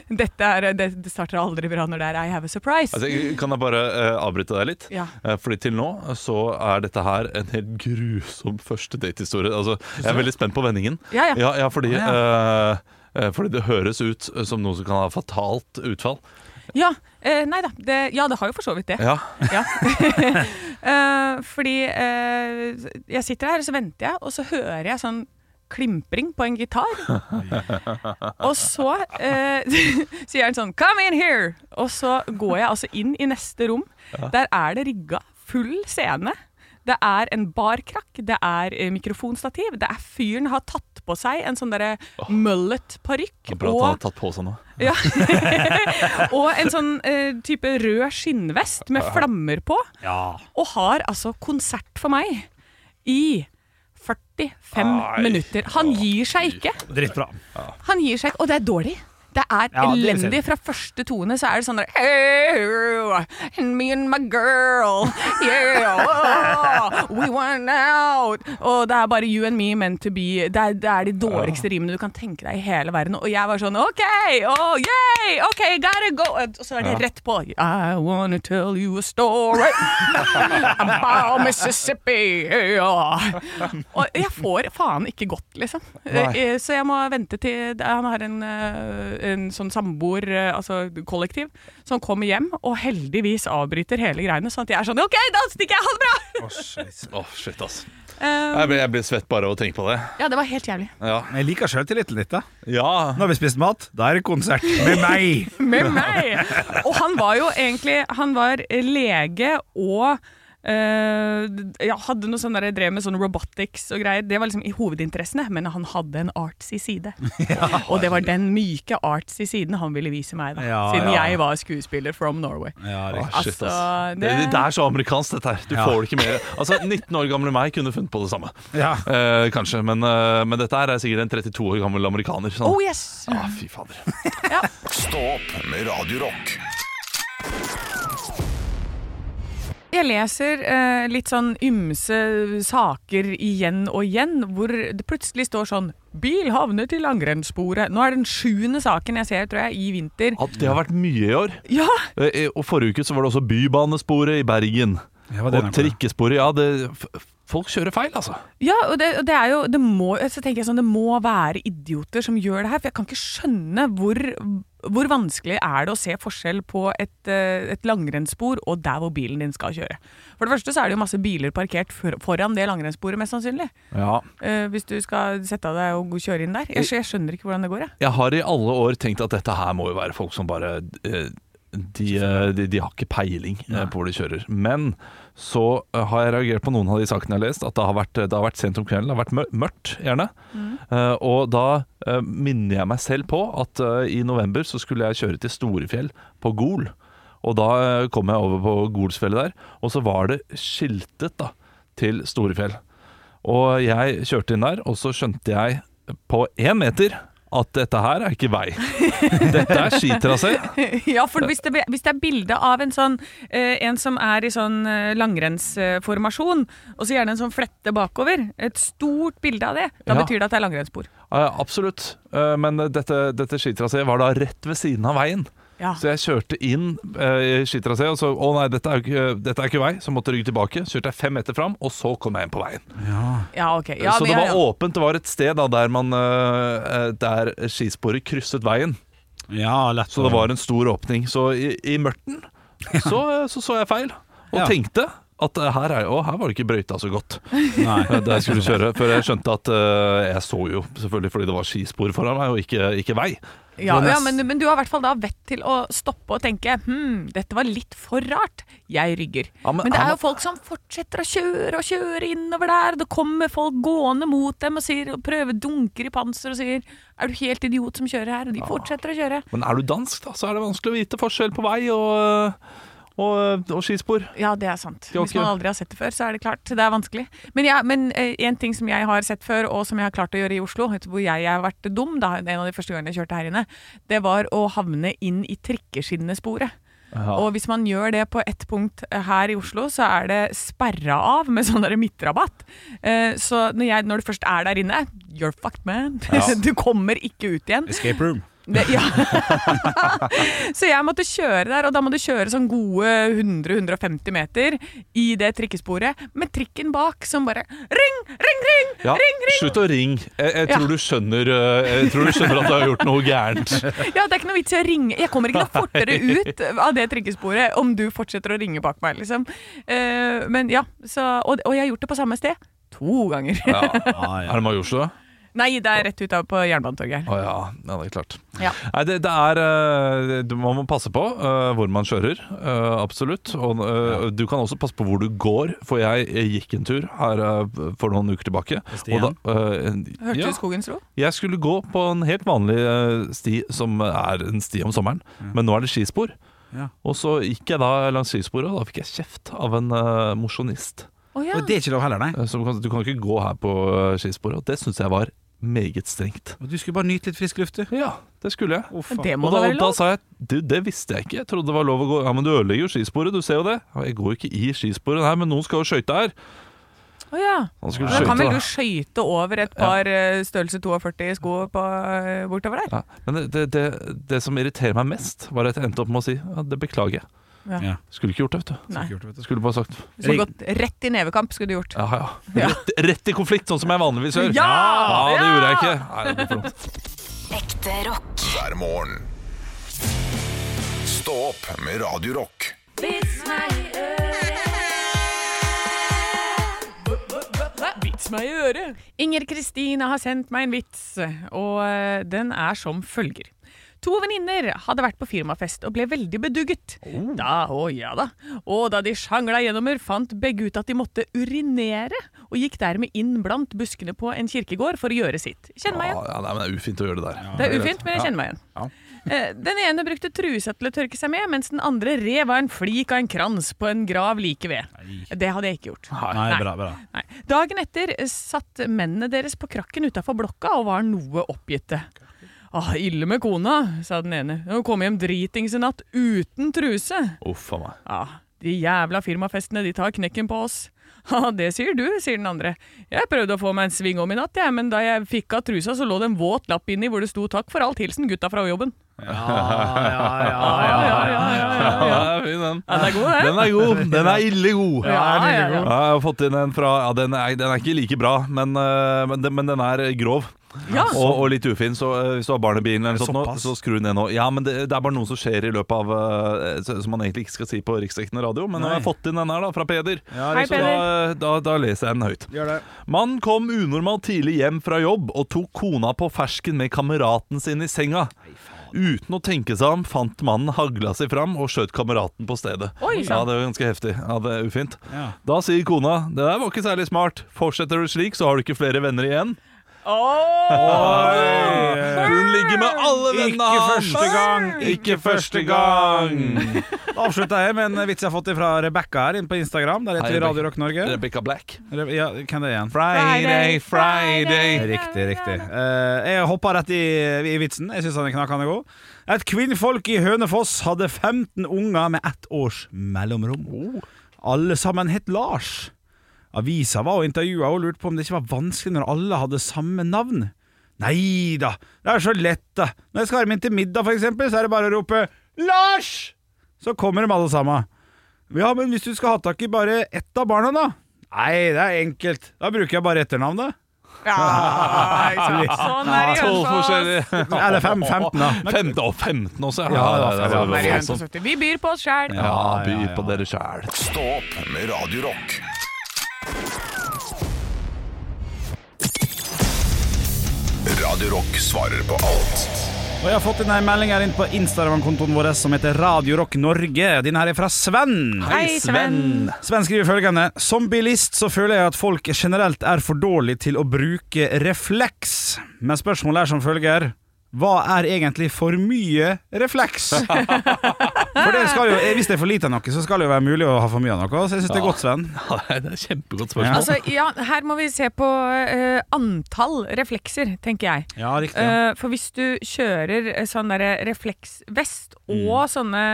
Speaker 3: Dette er, det, det starter aldri bra når det er I have a surprise.
Speaker 2: Altså, jeg- kan jeg bare eh, avbryte deg litt?
Speaker 3: Ja.
Speaker 2: Eh, fordi til nå så er dette her en helt grusom første datehistorie. Altså, jeg er veldig spent på vendingen.
Speaker 3: Ja, ja.
Speaker 2: Ja, fordi,
Speaker 4: Ah,
Speaker 2: eh, eh, fordi det høres ut eh, som noe som kan ha fatalt utfall.
Speaker 3: ja, eh, nei da. Det, ja, det har jo for så vidt det.
Speaker 2: Ja,
Speaker 3: Ja. Eh, fordi eh, jeg sitter her, og så venter jeg, og så hører jeg sånn klimpring på en gitar. og så eh, sier han sånn 'come in here', og så går jeg altså inn i neste rom. Der er det rigga full scene. Det er en barkrakk, det er eh, mikrofonstativ, det er fyren har tatt på seg en sånn derre mullet-parykk.
Speaker 2: Bra at han har tatt på seg noe.
Speaker 3: Ja. og en sånn eh, type rød skinnvest med flammer på.
Speaker 4: Ja.
Speaker 3: Og har altså konsert for meg i 45
Speaker 2: Ai.
Speaker 3: minutter. Han gir seg ikke.
Speaker 4: Dritbra.
Speaker 3: Han gir seg ikke, og det er dårlig. Det er
Speaker 4: Ja, det vil si
Speaker 3: elendig.
Speaker 4: det.
Speaker 3: Fra første tone så er det sånn der hey, and Me and my girl. Yeah, oh, we went out. Og det er bare you and me meant to be. Det er, det er de dårligste rimene du kan tenke deg i hele verden. Og jeg var sånn OK, oh, yay, OK, gotta go. Og så er det rett på. I wanna tell you a story about Mississippi. Yeah. Og jeg får faen ikke godt, liksom. Eh, Så jeg må vente til Han har en, eh, en sånn samboer, eh, altså kollektiv, som kommer hjem og heldigvis avbryter hele greiene. Sånn at jeg er sånn OK, da stikker jeg! Ha det bra!
Speaker 2: Åh, shit, ass.
Speaker 4: Um,
Speaker 3: Eh,
Speaker 2: Jeg blir, jeg blir svett bare av å tenke på det.
Speaker 3: ja, det var helt jævlig.
Speaker 2: Ja.
Speaker 4: Jeg liker sjøltilliten litt. da
Speaker 2: ja.
Speaker 4: Nå har vi spist mat, da er det konsert med meg!
Speaker 3: Med meg! Og han var jo egentlig Han var lege og eh, ja, hadde noe sånn der, drev med sånn robotics og greier. Det var liksom i hovedinteressene, men han hadde en artsy side. Og det var den myke artsy siden han ville vise meg, da.
Speaker 4: Ja,
Speaker 3: siden
Speaker 4: ja.
Speaker 3: jeg var skuespiller from Norway.
Speaker 4: Ja, det
Speaker 2: Åh, shit,
Speaker 3: Altså,
Speaker 2: ass. Det...
Speaker 3: det-
Speaker 2: det er så amerikansk, dette her. Du
Speaker 4: uh, Ja.
Speaker 2: får det ikke mer. Altså, 19 år gamle meg kunne funnet på det samme.
Speaker 4: Ja.
Speaker 2: Eh, kanskje, men, eh, men dette her er sikkert en 32 år gammel amerikaner. Sånn.
Speaker 3: Oh yes!
Speaker 2: ah, fy fader.
Speaker 1: Stå opp med Radio Rock.
Speaker 3: Jeg leser eh, litt sånn ymse saker igjen og igjen, hvor det plutselig står sånn Bil havnet i langrennssporet. Nå er det den sjuende saken jeg ser, tror jeg, i vinter.
Speaker 2: Ja, det har vært mye i år.
Speaker 3: Ja!
Speaker 2: Eh, Og forrige uke så var det også bybanesporet i Bergen.
Speaker 4: Ja, hva er det
Speaker 2: Og
Speaker 4: noe?
Speaker 2: trikkesporet. Ja, det, f- folk kjører feil, altså.
Speaker 3: ja og det, og det er jo det må, Så tenker jeg sånn, det må være idioter som gjør det her, for jeg kan ikke skjønne hvor, hvor vanskelig er det å se forskjell på et, eh, et langrennsspor og der hvor bilen din skal kjøre. For det første så er det jo masse biler parkert for, foran det langrennssporet, mest sannsynlig.
Speaker 2: Ja.
Speaker 3: Eh, hvis du skal sette av deg og gå- kjøre inn der. Jeg, skj- jeg skjønner ikke hvordan det går. Jeg.
Speaker 2: Jeg har i alle år tenkt at dette her må jo være folk som bare eh, de, eh, de, de har ikke peiling eh, på hvor de kjører. Men så eh, har jeg reagert på noen av de sakene jeg har lest, at det har vært, det har vært sent om kvelden. Det har vært mør- mørkt, gjerne. Eh, og da eh, minner jeg meg selv på at eh, i november så skulle jeg kjøre til Storefjell på Gol. Og da eh, kom jeg over på Golsfjellet der, og så var det skiltet da til Storefjell. Og jeg kjørte inn der, og så skjønte jeg på én meter at dette her er ikke vei. Dette er skitrasé.
Speaker 3: ja, for hvis det, hvis det er bilde av en sånn eh, En som er i sånn eh, langrennsformasjon, og så gjerne en sånn flette bakover, et stort bilde av det, da
Speaker 2: Ja.
Speaker 3: betyr det at det er langrennsspor.
Speaker 2: Eh, Absolutt. Eh, Men dette, dette skitrasé var da rett ved siden av veien.
Speaker 3: Ja.
Speaker 2: Så jeg kjørte inn eh, i skitrasé og så Å nei, dette er, jo ikke- dette er ikke vei. Så måtte jeg rygge tilbake. Så Kjørte jeg fem meter fram, og så kom jeg inn på veien.
Speaker 3: Ja, ok. Ja,
Speaker 2: så
Speaker 3: men
Speaker 2: det
Speaker 3: ja,
Speaker 2: var
Speaker 3: ja.
Speaker 2: åpent. Det var et sted da der, man, eh, eh, der skisporet krysset veien.
Speaker 4: Ja, lett
Speaker 2: Så det var en stor åpning. Så i, i mørten så, så så jeg feil, og
Speaker 4: Ja.
Speaker 2: tenkte at eh, her, er, å, her var det ikke brøyta så godt
Speaker 4: Nei.
Speaker 2: der jeg skulle kjøre. Før jeg skjønte at eh, jeg så jo, selvfølgelig fordi det var skispor foran meg, og ikke, ikke vei.
Speaker 3: Ja,
Speaker 2: Det var
Speaker 3: ja
Speaker 2: nest-
Speaker 3: men, men du har i hvert fall da vett til å stoppe og tenke Hm, dette var litt for rart. Jeg rygger.
Speaker 2: Ja, men
Speaker 3: men, det
Speaker 2: han-
Speaker 3: er jo folk som fortsetter å kjøre og kjøre innover der. Det kommer folk gående mot dem og, sier, og prøver dunker i panser og sier Er du helt idiot som kjører her? Og de fortsetter å kjøre.
Speaker 2: Men er du dansk, da, så er det vanskelig å vite forskjell på vei og, eh, og, og skispor.
Speaker 3: Ja, det er sant.
Speaker 2: Ja,
Speaker 3: Hvis
Speaker 2: ok.
Speaker 3: man aldri har sett det før, så er det klart. Det er vanskelig. Men, ja, men eh, en ting som jeg har sett før, og som jeg har klart å gjøre i Oslo, vet du, hvor jeg har vært dum da, en av de første gangene jeg kjørte her inne, det var å havne inn i trikkeskinnesporet. Og hvis man gjør det på ett punkt eh, her i Oslo, så er det sperra av med sånn der midtrabatt. Eh, Så når, jeg, når du først er der inne, you're fucked, man. Du kommer ikke ut igjen.
Speaker 4: Escape room.
Speaker 3: Det, ja. så jeg måtte kjøre der, og da må du kjøre sånn gode 100-150 meter i det trikkesporet, med trikken bak som bare Ring, ring, ring!
Speaker 2: Ja,
Speaker 3: ring, ring!
Speaker 2: Slutt å ringe. Jeg, jeg,
Speaker 3: Ja.
Speaker 2: tror du skjønner, eh, jeg tror du skjønner at du har gjort noe gærent.
Speaker 3: Ja, Det er ikke noe vits i å ringe. Jeg kommer ikke noe fortere ut av det trikkesporet om du fortsetter å ringe bak meg, liksom. Eh, men ja, så, og, og jeg har gjort det på samme sted to ganger.
Speaker 4: Ja,
Speaker 2: Er det Majorstua?
Speaker 3: Nei, det er rett ut av på Jernbanetorget her.
Speaker 2: Å ja. ja, det er klart.
Speaker 3: Ja.
Speaker 2: Nei, det, det er eh, du- Man må passe på eh, hvor man kjører, eh, absolutt. Og eh, du kan også passe på hvor du går, for jeg gikk en tur her eh, for noen uker tilbake.
Speaker 4: Stian?
Speaker 2: eh,
Speaker 3: Hørte
Speaker 2: ja,
Speaker 3: du Skogens ro?
Speaker 2: jeg skulle gå på en helt vanlig eh, sti, som er en sti om sommeren, men nå er det skispor.
Speaker 4: Ja.
Speaker 2: Og så gikk jeg da langs skisporet, og da fikk jeg kjeft av en uh, mosjonist.
Speaker 3: Å ja.
Speaker 4: Og det er ikke lov heller, nei.
Speaker 2: eh, som kan- Du kan ikke gå her på eh, skisporet. Og det syns jeg var meget strengt.
Speaker 4: Og du skulle bare nyte litt frisk luft, du.
Speaker 2: Ja, det skulle jeg.
Speaker 4: Å, faen.
Speaker 3: Det må
Speaker 2: Og da,
Speaker 3: da være
Speaker 2: og da
Speaker 3: lov.
Speaker 2: sa jeg du, det visste jeg ikke. Jeg trodde det var lov å gå Ja, men du ødelegger jo skisporet, du ser jo det. Ja, jeg går jo ikke i skisporet, nei, men noen skal jo skøyte her.
Speaker 3: Å ja.
Speaker 2: Han skulle
Speaker 3: Da kan
Speaker 2: skøyte,
Speaker 3: vel du
Speaker 2: da.
Speaker 3: skøyte over et par eh, størrelse 42 sko på, eh, bortover der?
Speaker 2: Ja, men det, det, det, det som irriterer meg mest, var at jeg endte opp med å si ja, det beklager jeg.
Speaker 3: Ja.
Speaker 4: Ja.
Speaker 2: Skulle ikke gjort det, vet du.
Speaker 3: Nei.
Speaker 2: Skulle bare sagt
Speaker 3: Du skulle
Speaker 4: Ring.
Speaker 3: gått rett i nevekamp, skulle du gjort.
Speaker 2: ja, ja. Rett, rett i konflikt, sånn som jeg vanligvis gjør.
Speaker 3: Ja!
Speaker 2: ja det gjorde jeg ikke.
Speaker 3: Ja!
Speaker 2: Nei, det blir for dumt.
Speaker 5: Ekte rock.
Speaker 1: hver morgen. Stå opp med Radio Rock.
Speaker 3: Vits meg i øret! Inger Kristine har sendt meg en vits, og eh, den er som følger. To venninner hadde vært på firmafest og ble veldig bedugget.
Speaker 2: Oh.
Speaker 3: Da, å ja da. Og da de sjangla gjennommer, fant begge ut at de måtte urinere, og gikk dermed inn blant buskene på en kirkegård for å gjøre sitt. Kjenn meg igjen.
Speaker 2: Ja, ja, nei, men det er ufint å gjøre det der.
Speaker 3: Det er ufint, men jeg kjenner meg igjen. Eh, Den ene brukte trusa til å tørke seg med, mens den andre rev av en flik av en krans på en grav like ved. Det hadde jeg ikke gjort.
Speaker 4: Nei, bra, bra.
Speaker 3: Nei. Dagen etter eh, satt mennene deres på krakken utafor blokka og var noe oppgitte. Ah, ille med kona, sa den ene. Hun kom hjem dritings i natt uten truse.
Speaker 2: Uff a meg.
Speaker 3: Ja, de jævla firmafestene, de tar knekken på oss. Ja, det sier du, sier den andre. Jeg prøvde å få meg en sving om i natt, jeg, men da jeg fikk av trusa, så lå det en våt lapp inni hvor det sto 'takk for alt, hilsen gutta fra jobben'. Ja, ja, ja, ja, ja, ja.
Speaker 2: Ja, det er fin, den.
Speaker 3: ja den er god, den.
Speaker 2: Den er god. Den er ille god.
Speaker 3: Ja, ja, ja.
Speaker 2: Ja, jeg har fått inn en fra ja, den, er, den er ikke like bra, men, eh, men, den- men den er grov.
Speaker 3: Ja.
Speaker 2: Og, og litt ufin, så eh, hvis du har barn i bilen, eller sånt nå,
Speaker 4: Såpass.
Speaker 2: så skru ned nå. Ja, men det, det er bare noe som skjer i løpet av eh, så- Som man egentlig ikke skal si på riksdekkende radio, men nå har jeg fått inn den her da, fra Peder.
Speaker 3: Hei,
Speaker 2: så da, da, da leser jeg den høyt.
Speaker 4: Gjør det.
Speaker 2: Mannen kom unormalt tidlig hjem fra jobb og tok kona på fersken med kameraten sin i senga. Uten å tenke seg om fant mannen hagla seg fram og skjøt kameraten på stedet.
Speaker 3: Oi,
Speaker 2: ja,
Speaker 3: sant.
Speaker 2: Det var ganske heftig. Ja, det er ufint.
Speaker 4: Ja.
Speaker 2: Da sier kona det der var ikke særlig smart. Fortsetter du slik, så har du ikke flere venner igjen. Hun ligger med alle vennene
Speaker 4: Ikke
Speaker 2: hans!
Speaker 4: første gang!
Speaker 2: Ikke første gang!
Speaker 4: Da avslutter jeg med en vits jeg har fått fra Rebekka her inn på Instagram. Der
Speaker 2: Hei,
Speaker 4: heter vi
Speaker 2: Rebecca.
Speaker 4: Radio Rock Norge.
Speaker 2: Rebecca Black.
Speaker 4: Re ja, hvem det er igjen?
Speaker 2: Friday, Friday.
Speaker 4: Riktig, riktig. Eh, jeg hoppa rett i, i vitsen. Jeg syns han er knakende god. Et kvinnfolk i Hønefoss hadde 15 unger med ett års mellomrom.
Speaker 2: Oh.
Speaker 4: Alle sammen het Lars. Avisa var og intervjua og lurte på om det ikke var vanskelig når alle hadde samme navn. Nei da, det er så lett, da. Når jeg skal ha dem inn til middag, for eksempel, så er det bare å rope Lars! Så kommer de alle sammen. Ja, men hvis du skal ha tak i bare ett av barna, da? Nei, det er enkelt. Da bruker jeg bare etternavnet. Ja,
Speaker 3: Sånn er det i
Speaker 2: Tolv
Speaker 3: Hønefoss.
Speaker 2: forskjellige
Speaker 4: Eller fem, 15, da.
Speaker 2: Femte og 15 også, ja. det
Speaker 4: Ja, ja, ja,
Speaker 2: er voldsomt.
Speaker 4: ja.
Speaker 3: Sånn er det i Hønefoss. vet du. Vi byr på oss sjæl.
Speaker 2: Ja, by på dere sjæl.
Speaker 1: Stå opp med Radio Rock. Radio Rock svarer på alt.
Speaker 4: Og jeg har fått inn en melding her inn på Instagram-kontoen vår som heter Radio Rock Norge. Din her er fra Sven.
Speaker 3: Hei, Sven.
Speaker 4: Sven skriver følgende Som bilist så føler jeg at folk generelt er for dårlig til å bruke refleks. Men spørsmålet er som følger Hva er egentlig for mye refleks? For det skal jo, eh, Hvis det er for lite av noe, så skal det jo være mulig å ha for mye av noe. Så jeg syns det er godt, Sven.
Speaker 2: Ja, det er et kjempegodt spørsmål.
Speaker 3: Altså, ja, her må vi se på eh, antall reflekser, tenker jeg.
Speaker 4: Ja, riktig.
Speaker 3: Eh, for hvis du kjører eh, sånn derre refleksvest og sånne,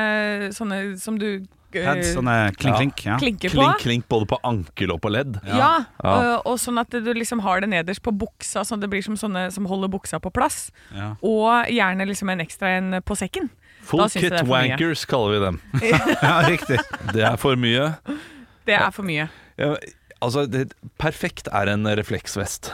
Speaker 3: sånne som du eh,
Speaker 4: Heads, sånne klink-klink. Ja.
Speaker 3: klinker på
Speaker 2: Klink, klink både på ankel og på ledd.
Speaker 3: Ja, eh, og sånn at du liksom har det nederst på buksa, sånn at det blir som sånne som holder buksa på plass.
Speaker 4: Ja.
Speaker 3: Og gjerne liksom en ekstra en på sekken.
Speaker 2: Full
Speaker 3: Da syns jeg
Speaker 2: kit
Speaker 3: det er for mye.
Speaker 2: wankers kaller vi dem.
Speaker 4: ja, riktig.
Speaker 2: Det er for mye.
Speaker 3: Det er for mye.
Speaker 2: Ja, altså, det, perfekt er en refleksvest.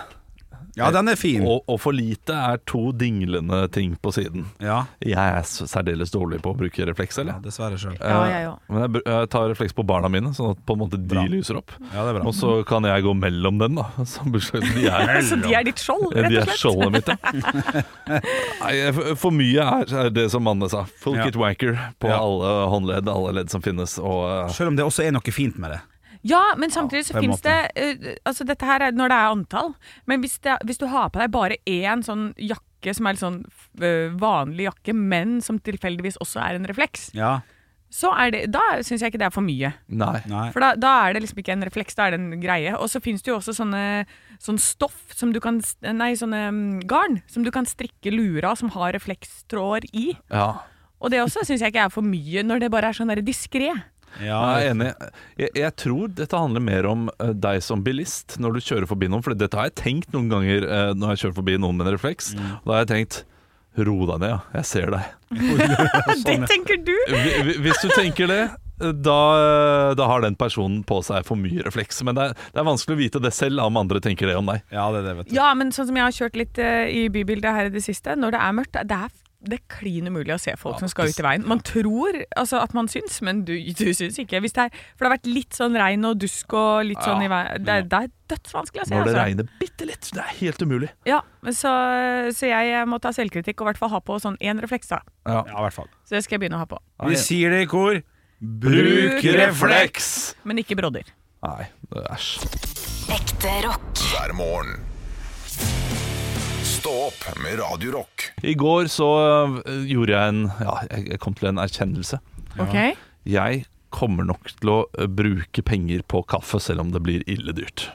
Speaker 4: Ja, den er fin.
Speaker 2: Og, og for lite er to dinglende ting på siden.
Speaker 4: Ja,
Speaker 2: Jeg er s- særdeles dårlig på å bruke refleks,
Speaker 4: ja
Speaker 2: eller?
Speaker 4: dessverre sjøl.
Speaker 3: Ja, jeg òg.
Speaker 2: Men jeg, br- jeg tar refleks på barna mine, sånn at på en måte de
Speaker 4: Bra.
Speaker 2: lyser opp.
Speaker 4: Ja, det er bra.
Speaker 2: Og så kan jeg gå mellom den, da. Så bursdagen- de er,
Speaker 3: Så de er ditt skjold,
Speaker 2: Eh,
Speaker 3: rett
Speaker 2: de
Speaker 3: og
Speaker 2: er
Speaker 3: slett.
Speaker 2: skjoldet mitt, ja. Nei, eh, for- For mye er, er det som Anne sa. Full
Speaker 4: Ja.
Speaker 2: kit wanker på
Speaker 4: Ja.
Speaker 2: alle håndledd, alle ledd som finnes. Og, eh,
Speaker 4: Sjøl om det også er noe fint med det.
Speaker 3: Ja, men samtidig
Speaker 4: på
Speaker 3: så
Speaker 4: en
Speaker 3: fins det eh, Altså, dette her er når det er antall, men hvis, det, hvis du har på deg bare én sånn jakke som er litt sånn eh, vanlig jakke, men som tilfeldigvis også er en refleks,
Speaker 4: Ja,
Speaker 3: så er det Da syns jeg ikke det er for mye.
Speaker 2: nei.
Speaker 4: nei
Speaker 3: For da, da er det liksom ikke en refleks, da er det en greie. Og så fins det jo også sånne sånn stoff som du kan s- Nei, sånne mm, garn som du kan strikke luer av som har reflekstråder i.
Speaker 2: Ja.
Speaker 3: Og det også syns jeg ikke er for mye, når det bare er sånn diskré.
Speaker 4: ja,
Speaker 2: Jeg er enig. Jeg, jeg tror dette handler mer om eh, deg som bilist når du kjører forbi noen. For dette har jeg tenkt noen ganger eh, når jeg kjører forbi noen med en refleks. Da har jeg tenkt Ro deg ned, ja. Jeg ser deg. Sånn,
Speaker 3: Det tenker du!
Speaker 2: Hvi- hvi- Hvis du tenker det, eh, da, eh, da har den personen på seg for mye refleks. Men det er, det er vanskelig å vite det selv om andre tenker det om deg.
Speaker 4: ja, det er det, vet du.
Speaker 3: Ja, men sånn som jeg har kjørt litt eh, i bybildet her i det siste, når det er mørkt, det er det er klin umulig å se folk som skal ut i veien. Man tror altså, at man syns, men du, du syns ikke. Hvis det er, for det har vært litt sånn regn og dusk og litt sånn i veien. Det, er- det er dødsvanskelig å se.
Speaker 2: Når det
Speaker 3: altså.
Speaker 2: regner bitte litt. Det er helt umulig.
Speaker 3: Ja, men så, så jeg må ta selvkritikk og i hvert fall ha på sånn én refleks, da.
Speaker 4: Ja, i hvert fall.
Speaker 3: Så det skal jeg begynne å ha på.
Speaker 4: Vi sier det i kor.
Speaker 3: Bruk refleks! Men ikke brodder.
Speaker 2: Nei, æsj.
Speaker 5: Ekte rock.
Speaker 1: hver morgen. Stå opp med Radio Rock.
Speaker 2: I går så eh, gjorde jeg en Ja, jeg jeg kom til en erkjennelse.
Speaker 3: Ok?
Speaker 2: jeg kommer nok til å eh, bruke penger på kaffe selv om det blir ille dyrt.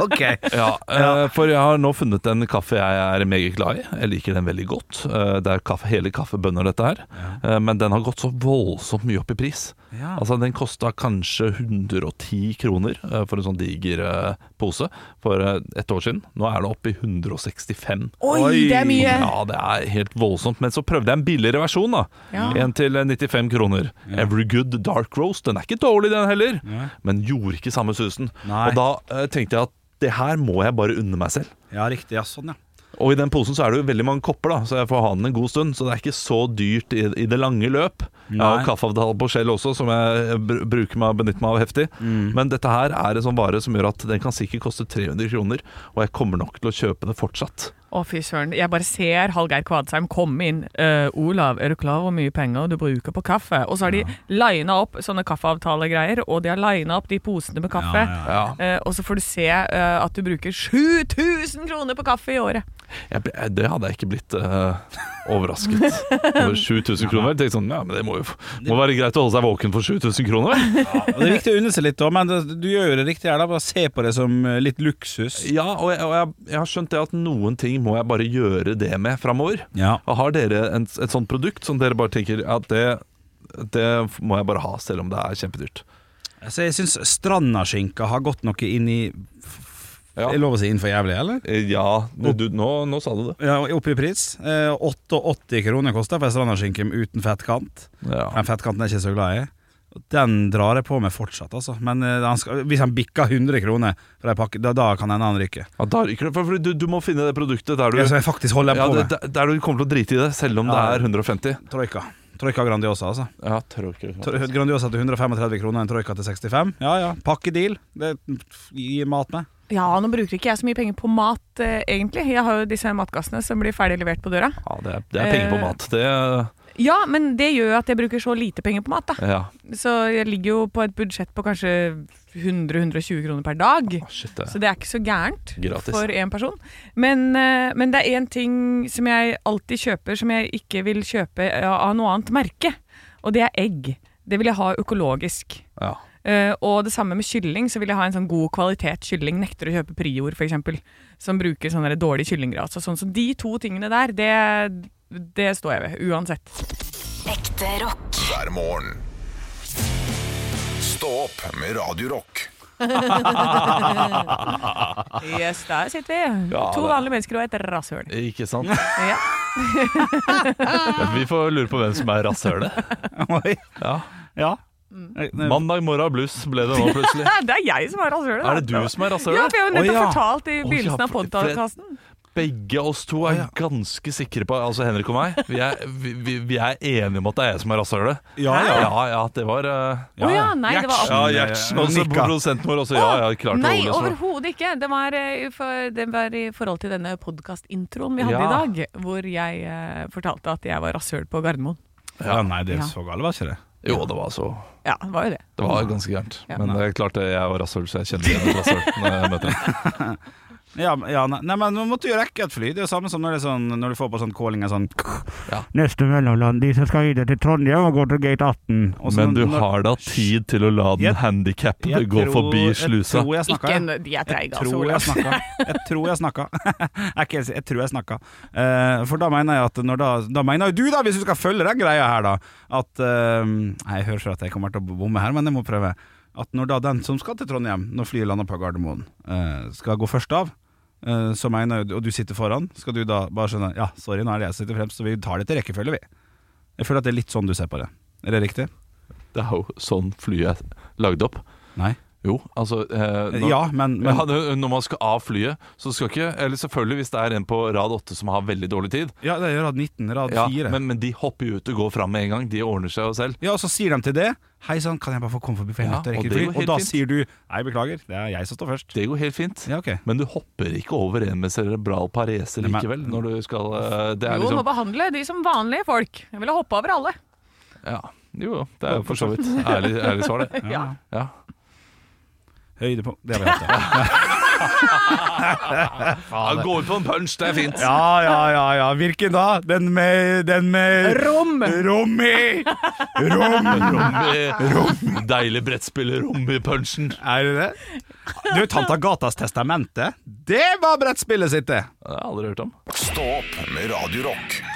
Speaker 4: Ok.
Speaker 2: Ja, eh, For jeg har nå funnet en kaffe jeg er meget glad i. Jeg liker den veldig godt. Eh, Det er kaffe, hele kaffebønner, dette her. Eh, Men den har gått så voldsomt mye opp i pris.
Speaker 4: Ja.
Speaker 2: Altså Den kosta kanskje 110 kroner eh, for en sånn diger eh, pose for eh, et år siden. Nå er det oppe i 165.
Speaker 3: Oi, det er mye!
Speaker 2: Ja, det er helt voldsomt. Men så prøvde jeg en billigere versjon. da
Speaker 3: Ja.
Speaker 2: En til 95 kroner. Every Good Dark Roast. Den er ikke dårlig, den heller, men gjorde ikke samme susen.
Speaker 4: Nei.
Speaker 2: Og da eh, tenkte jeg at det her må jeg bare unne meg selv.
Speaker 4: Ja, riktig. Ja, sånn, ja.
Speaker 2: Og i den posen så er det jo veldig mange kopper, da så jeg får ha den en god stund. Så det er ikke så dyrt i, i det lange løp. Jeg har
Speaker 4: Nei.
Speaker 2: kaffeavtale på Shell også, som jeg br- bruker meg benytter meg av heftig.
Speaker 4: Mm.
Speaker 2: Men dette her er en sånn vare som gjør at den kan sikkert koste 300 kroner, og jeg kommer nok til å kjøpe det fortsatt.
Speaker 3: Å, fy søren. Jeg bare ser Hallgeir Kvadsheim komme inn. «Eh, 'Olav, er du klar over hvor mye penger du bruker på kaffe?' Og så har de lina opp sånne kaffeavtalegreier, og de har lina opp de posene med kaffe.
Speaker 2: Ja.
Speaker 3: Eh, og så får du se eh, at du bruker 7000 kroner på kaffe i året.
Speaker 2: Jeg, ble- det hadde jeg ikke blitt eh, overrasket over. 7000 kroner. Jeg tenkte sånn, ja, men det må jo må være greit å holde seg våken for 7000 kroner. vel?
Speaker 4: Og det er viktig å unne seg litt òg, men det- du gjør jo det riktig her. da Bare se på det som eh, litt luksus.
Speaker 2: Ja, og, jeg, og jeg, jeg har skjønt det at noen ting må jeg bare gjøre det med framover.
Speaker 4: Ja.
Speaker 2: Og Har dere en, et sånt produkt som dere bare tenker at det, det må jeg bare ha, selv om det er kjempedyrt?
Speaker 4: Altså, jeg syns strandaskinka har gått noe inn i f- f-
Speaker 2: Ja.
Speaker 4: Er det lov å si innenfor jævlig, eller?
Speaker 2: Eh, Ja, du, du, nå, nå sa du det.
Speaker 4: Ja, Opp i pris. Eh, 88 kroner koster for en strandaskinke uten fettkant.
Speaker 2: Ja.
Speaker 4: Den fettkanten er jeg ikke så glad i. Den drar jeg på med fortsatt, altså. Men eh, han skal, hvis han bikker 100 kroner for ei pakke, da, da kan hende han ryker.
Speaker 2: Ja, da ryker det, for for du, du må finne det produktet der du,
Speaker 4: Ja, så jeg faktisk holder
Speaker 2: ja,
Speaker 4: på
Speaker 2: det,
Speaker 4: med.
Speaker 2: der- der du kommer til å drite i det, selv om
Speaker 4: Ja.
Speaker 2: det er 150.
Speaker 4: Troika. Troika Grandiosa, altså.
Speaker 2: Ja, tråkker.
Speaker 4: Tro- Grandiosa til 135 kroner, en Troika til 65. Ja ja, pakkedeal. Det gir mat med.
Speaker 3: Ja, nå bruker ikke jeg så mye penger på mat, eh, egentlig. Jeg har jo disse matkassene som blir ferdig levert på døra.
Speaker 2: Ja, det er, det er penger på
Speaker 3: Eh.
Speaker 2: mat. Det, ja.
Speaker 3: Ja, men det gjør jo at jeg bruker så lite penger på mat, da. Så jeg ligger jo på et budsjett på kanskje 100-120 kroner per dag.
Speaker 2: Å, Shit, det.
Speaker 3: Så det er ikke så gærent
Speaker 2: Gratis.
Speaker 3: for én person. Men, eh, men det er én ting som jeg alltid kjøper som jeg ikke vil kjøpe av noe annet merke, og det er egg. Det vil jeg ha økologisk.
Speaker 2: Ja.
Speaker 3: Eh, og det samme med kylling, så vil jeg ha en sånn god kvalitet kylling. Nekter å kjøpe prior, f.eks., som bruker sånn der dårlig kyllinggras. Og sånn. Så de to tingene der, det, det står jeg ved, uansett.
Speaker 5: Ekte rock.
Speaker 1: hver morgen. Stå opp med Radio Rock.
Speaker 3: Yes, der sitter vi.
Speaker 2: Ja,
Speaker 3: to
Speaker 2: det-
Speaker 3: vanlige mennesker og et rasshøl.
Speaker 2: Ikke sant?
Speaker 3: Ja.
Speaker 2: Vi får lure på hvem som er rasshølet.
Speaker 4: Oi.
Speaker 2: Ja. Mm.
Speaker 4: Ja. Man
Speaker 2: Mandag morgen blues ble det nå plutselig.
Speaker 3: Det er jeg som har rasshølet.
Speaker 2: Er det du som er
Speaker 3: Ja,
Speaker 2: rasshølet?
Speaker 3: for jeg har jo nettopp
Speaker 4: Å, ja.
Speaker 3: fortalt i
Speaker 2: Å,
Speaker 3: begynnelsen
Speaker 2: ja,
Speaker 3: av
Speaker 2: for-
Speaker 3: podkasten.
Speaker 2: Begge oss to er ganske sikre på Altså Henrik og meg. Vi er, vi, vi, vi er enige om at det er jeg som er rasshølet.
Speaker 4: Ja, ja.
Speaker 2: ja, ja, det var eh,
Speaker 3: Å ja, nei, det var
Speaker 2: Ja, Gjertsen og så
Speaker 4: Nikka.
Speaker 2: produsenten vår også. Ja, ja, klart
Speaker 3: Nei,
Speaker 2: Ole, så-
Speaker 3: overhodet ikke. Det var, eh, for, det var i forhold til denne podkastintroen vi hadde
Speaker 2: Ja.
Speaker 3: i dag, hvor jeg eh, fortalte at jeg var rasshøl på Gardermoen.
Speaker 4: Ja, nei, det
Speaker 3: Ja.
Speaker 4: er så galt, var ikke det?
Speaker 2: Jo, det var så
Speaker 3: Ja, det var jo det.
Speaker 2: Det var ganske gærent.
Speaker 3: Ja.
Speaker 2: Men det er klart det, jeg var rasshøl, så jeg kjenner igjen et rasshøl når jeg møter ham.
Speaker 4: Ja, men- ja, nei, nei, men nå måtte du jo rekke et fly. Det er jo samme som når, det er sånn, når du får på sånn calling en sånn
Speaker 8: Neste mellomland, de som skal videre til Trondheim og gå til gate 18.
Speaker 4: og så
Speaker 2: Men du
Speaker 4: når- når-
Speaker 2: har da tid til å la den
Speaker 4: Jeg-
Speaker 2: handikappen
Speaker 4: Jeg
Speaker 2: gå
Speaker 4: tror-
Speaker 2: forbi
Speaker 4: Jeg
Speaker 2: slusa?
Speaker 4: tror jeg snakka.
Speaker 3: Ikke
Speaker 4: jeg.
Speaker 3: en, de er
Speaker 4: Jeg
Speaker 3: treige, altså,
Speaker 4: tror jeg
Speaker 3: Olav.
Speaker 4: snakka. Jeg tror jeg snakka. Jeg, er ikke helt sikker. jeg tror jeg snakka. Eh, for da mener jeg at når da, da mener jo du, da, hvis du skal følge den greia her, da, at eh, nei, Jeg hører for at jeg kommer til å bomme her, men jeg må prøve. At når da den som skal til Trondheim, når flyet lander på Gardermoen, eh, skal gå først av, eh, så mener jeg, og du sitter foran, skal du da bare skjønne Ja, sorry, nå er det jeg som sitter fremst, så vi tar det til rekkefølge, vi. Jeg føler at det er litt sånn du ser på det. Er det riktig?
Speaker 2: Det er jo sånn flyet er lagd opp.
Speaker 4: Nei.
Speaker 2: Jo, altså eh, når,
Speaker 4: Ja, men, men
Speaker 2: Ja, det- når man skal av flyet, så skal ikke Eller selvfølgelig hvis det er en på rad 8 som har veldig dårlig tid.
Speaker 4: Ja, det er rad 19, rad
Speaker 2: Ja,
Speaker 4: 4.
Speaker 2: men, men de hopper jo ut og går fram med en gang. De ordner seg jo selv.
Speaker 4: Ja, og så sier de til det Hei sann, kan jeg bare få komme forbi for jeg
Speaker 2: Ja,
Speaker 4: er nødt til å
Speaker 2: og
Speaker 4: rekke
Speaker 2: det
Speaker 4: fly?
Speaker 2: går
Speaker 4: Og
Speaker 2: helt
Speaker 4: da
Speaker 2: fint.
Speaker 4: sier du Nei, beklager, det er jeg som står først.
Speaker 2: Det går helt fint.
Speaker 4: Ja, ok
Speaker 2: Men du hopper ikke over en med cerebral parese
Speaker 4: Nei, men-
Speaker 2: likevel. Når du skal eh, Det er
Speaker 3: Jo, må
Speaker 2: liksom
Speaker 3: behandle de som vanlige folk. Jeg ville hoppe over alle.
Speaker 2: ja, Jo, jo. Det er jo for så
Speaker 4: sånn.
Speaker 2: vidt ærlig, ærlig svar, det.
Speaker 3: Ja.
Speaker 2: Ja.
Speaker 4: Høydepunkt Det har vi hatt, ja.
Speaker 2: Ja, gå ut på en punch, det er fint.
Speaker 4: Ja, ja, ja. ja. Hvilken da? Den med, den med
Speaker 3: Rom!
Speaker 4: Rommi! Rom!
Speaker 2: Rom i, deilig brettspillerom i punchen.
Speaker 4: Er det det? Du, Tanta Gatas testamente, det var brettspillet sitt, det!
Speaker 2: Det har jeg aldri hørt om.
Speaker 1: Stå opp med Radio Rock.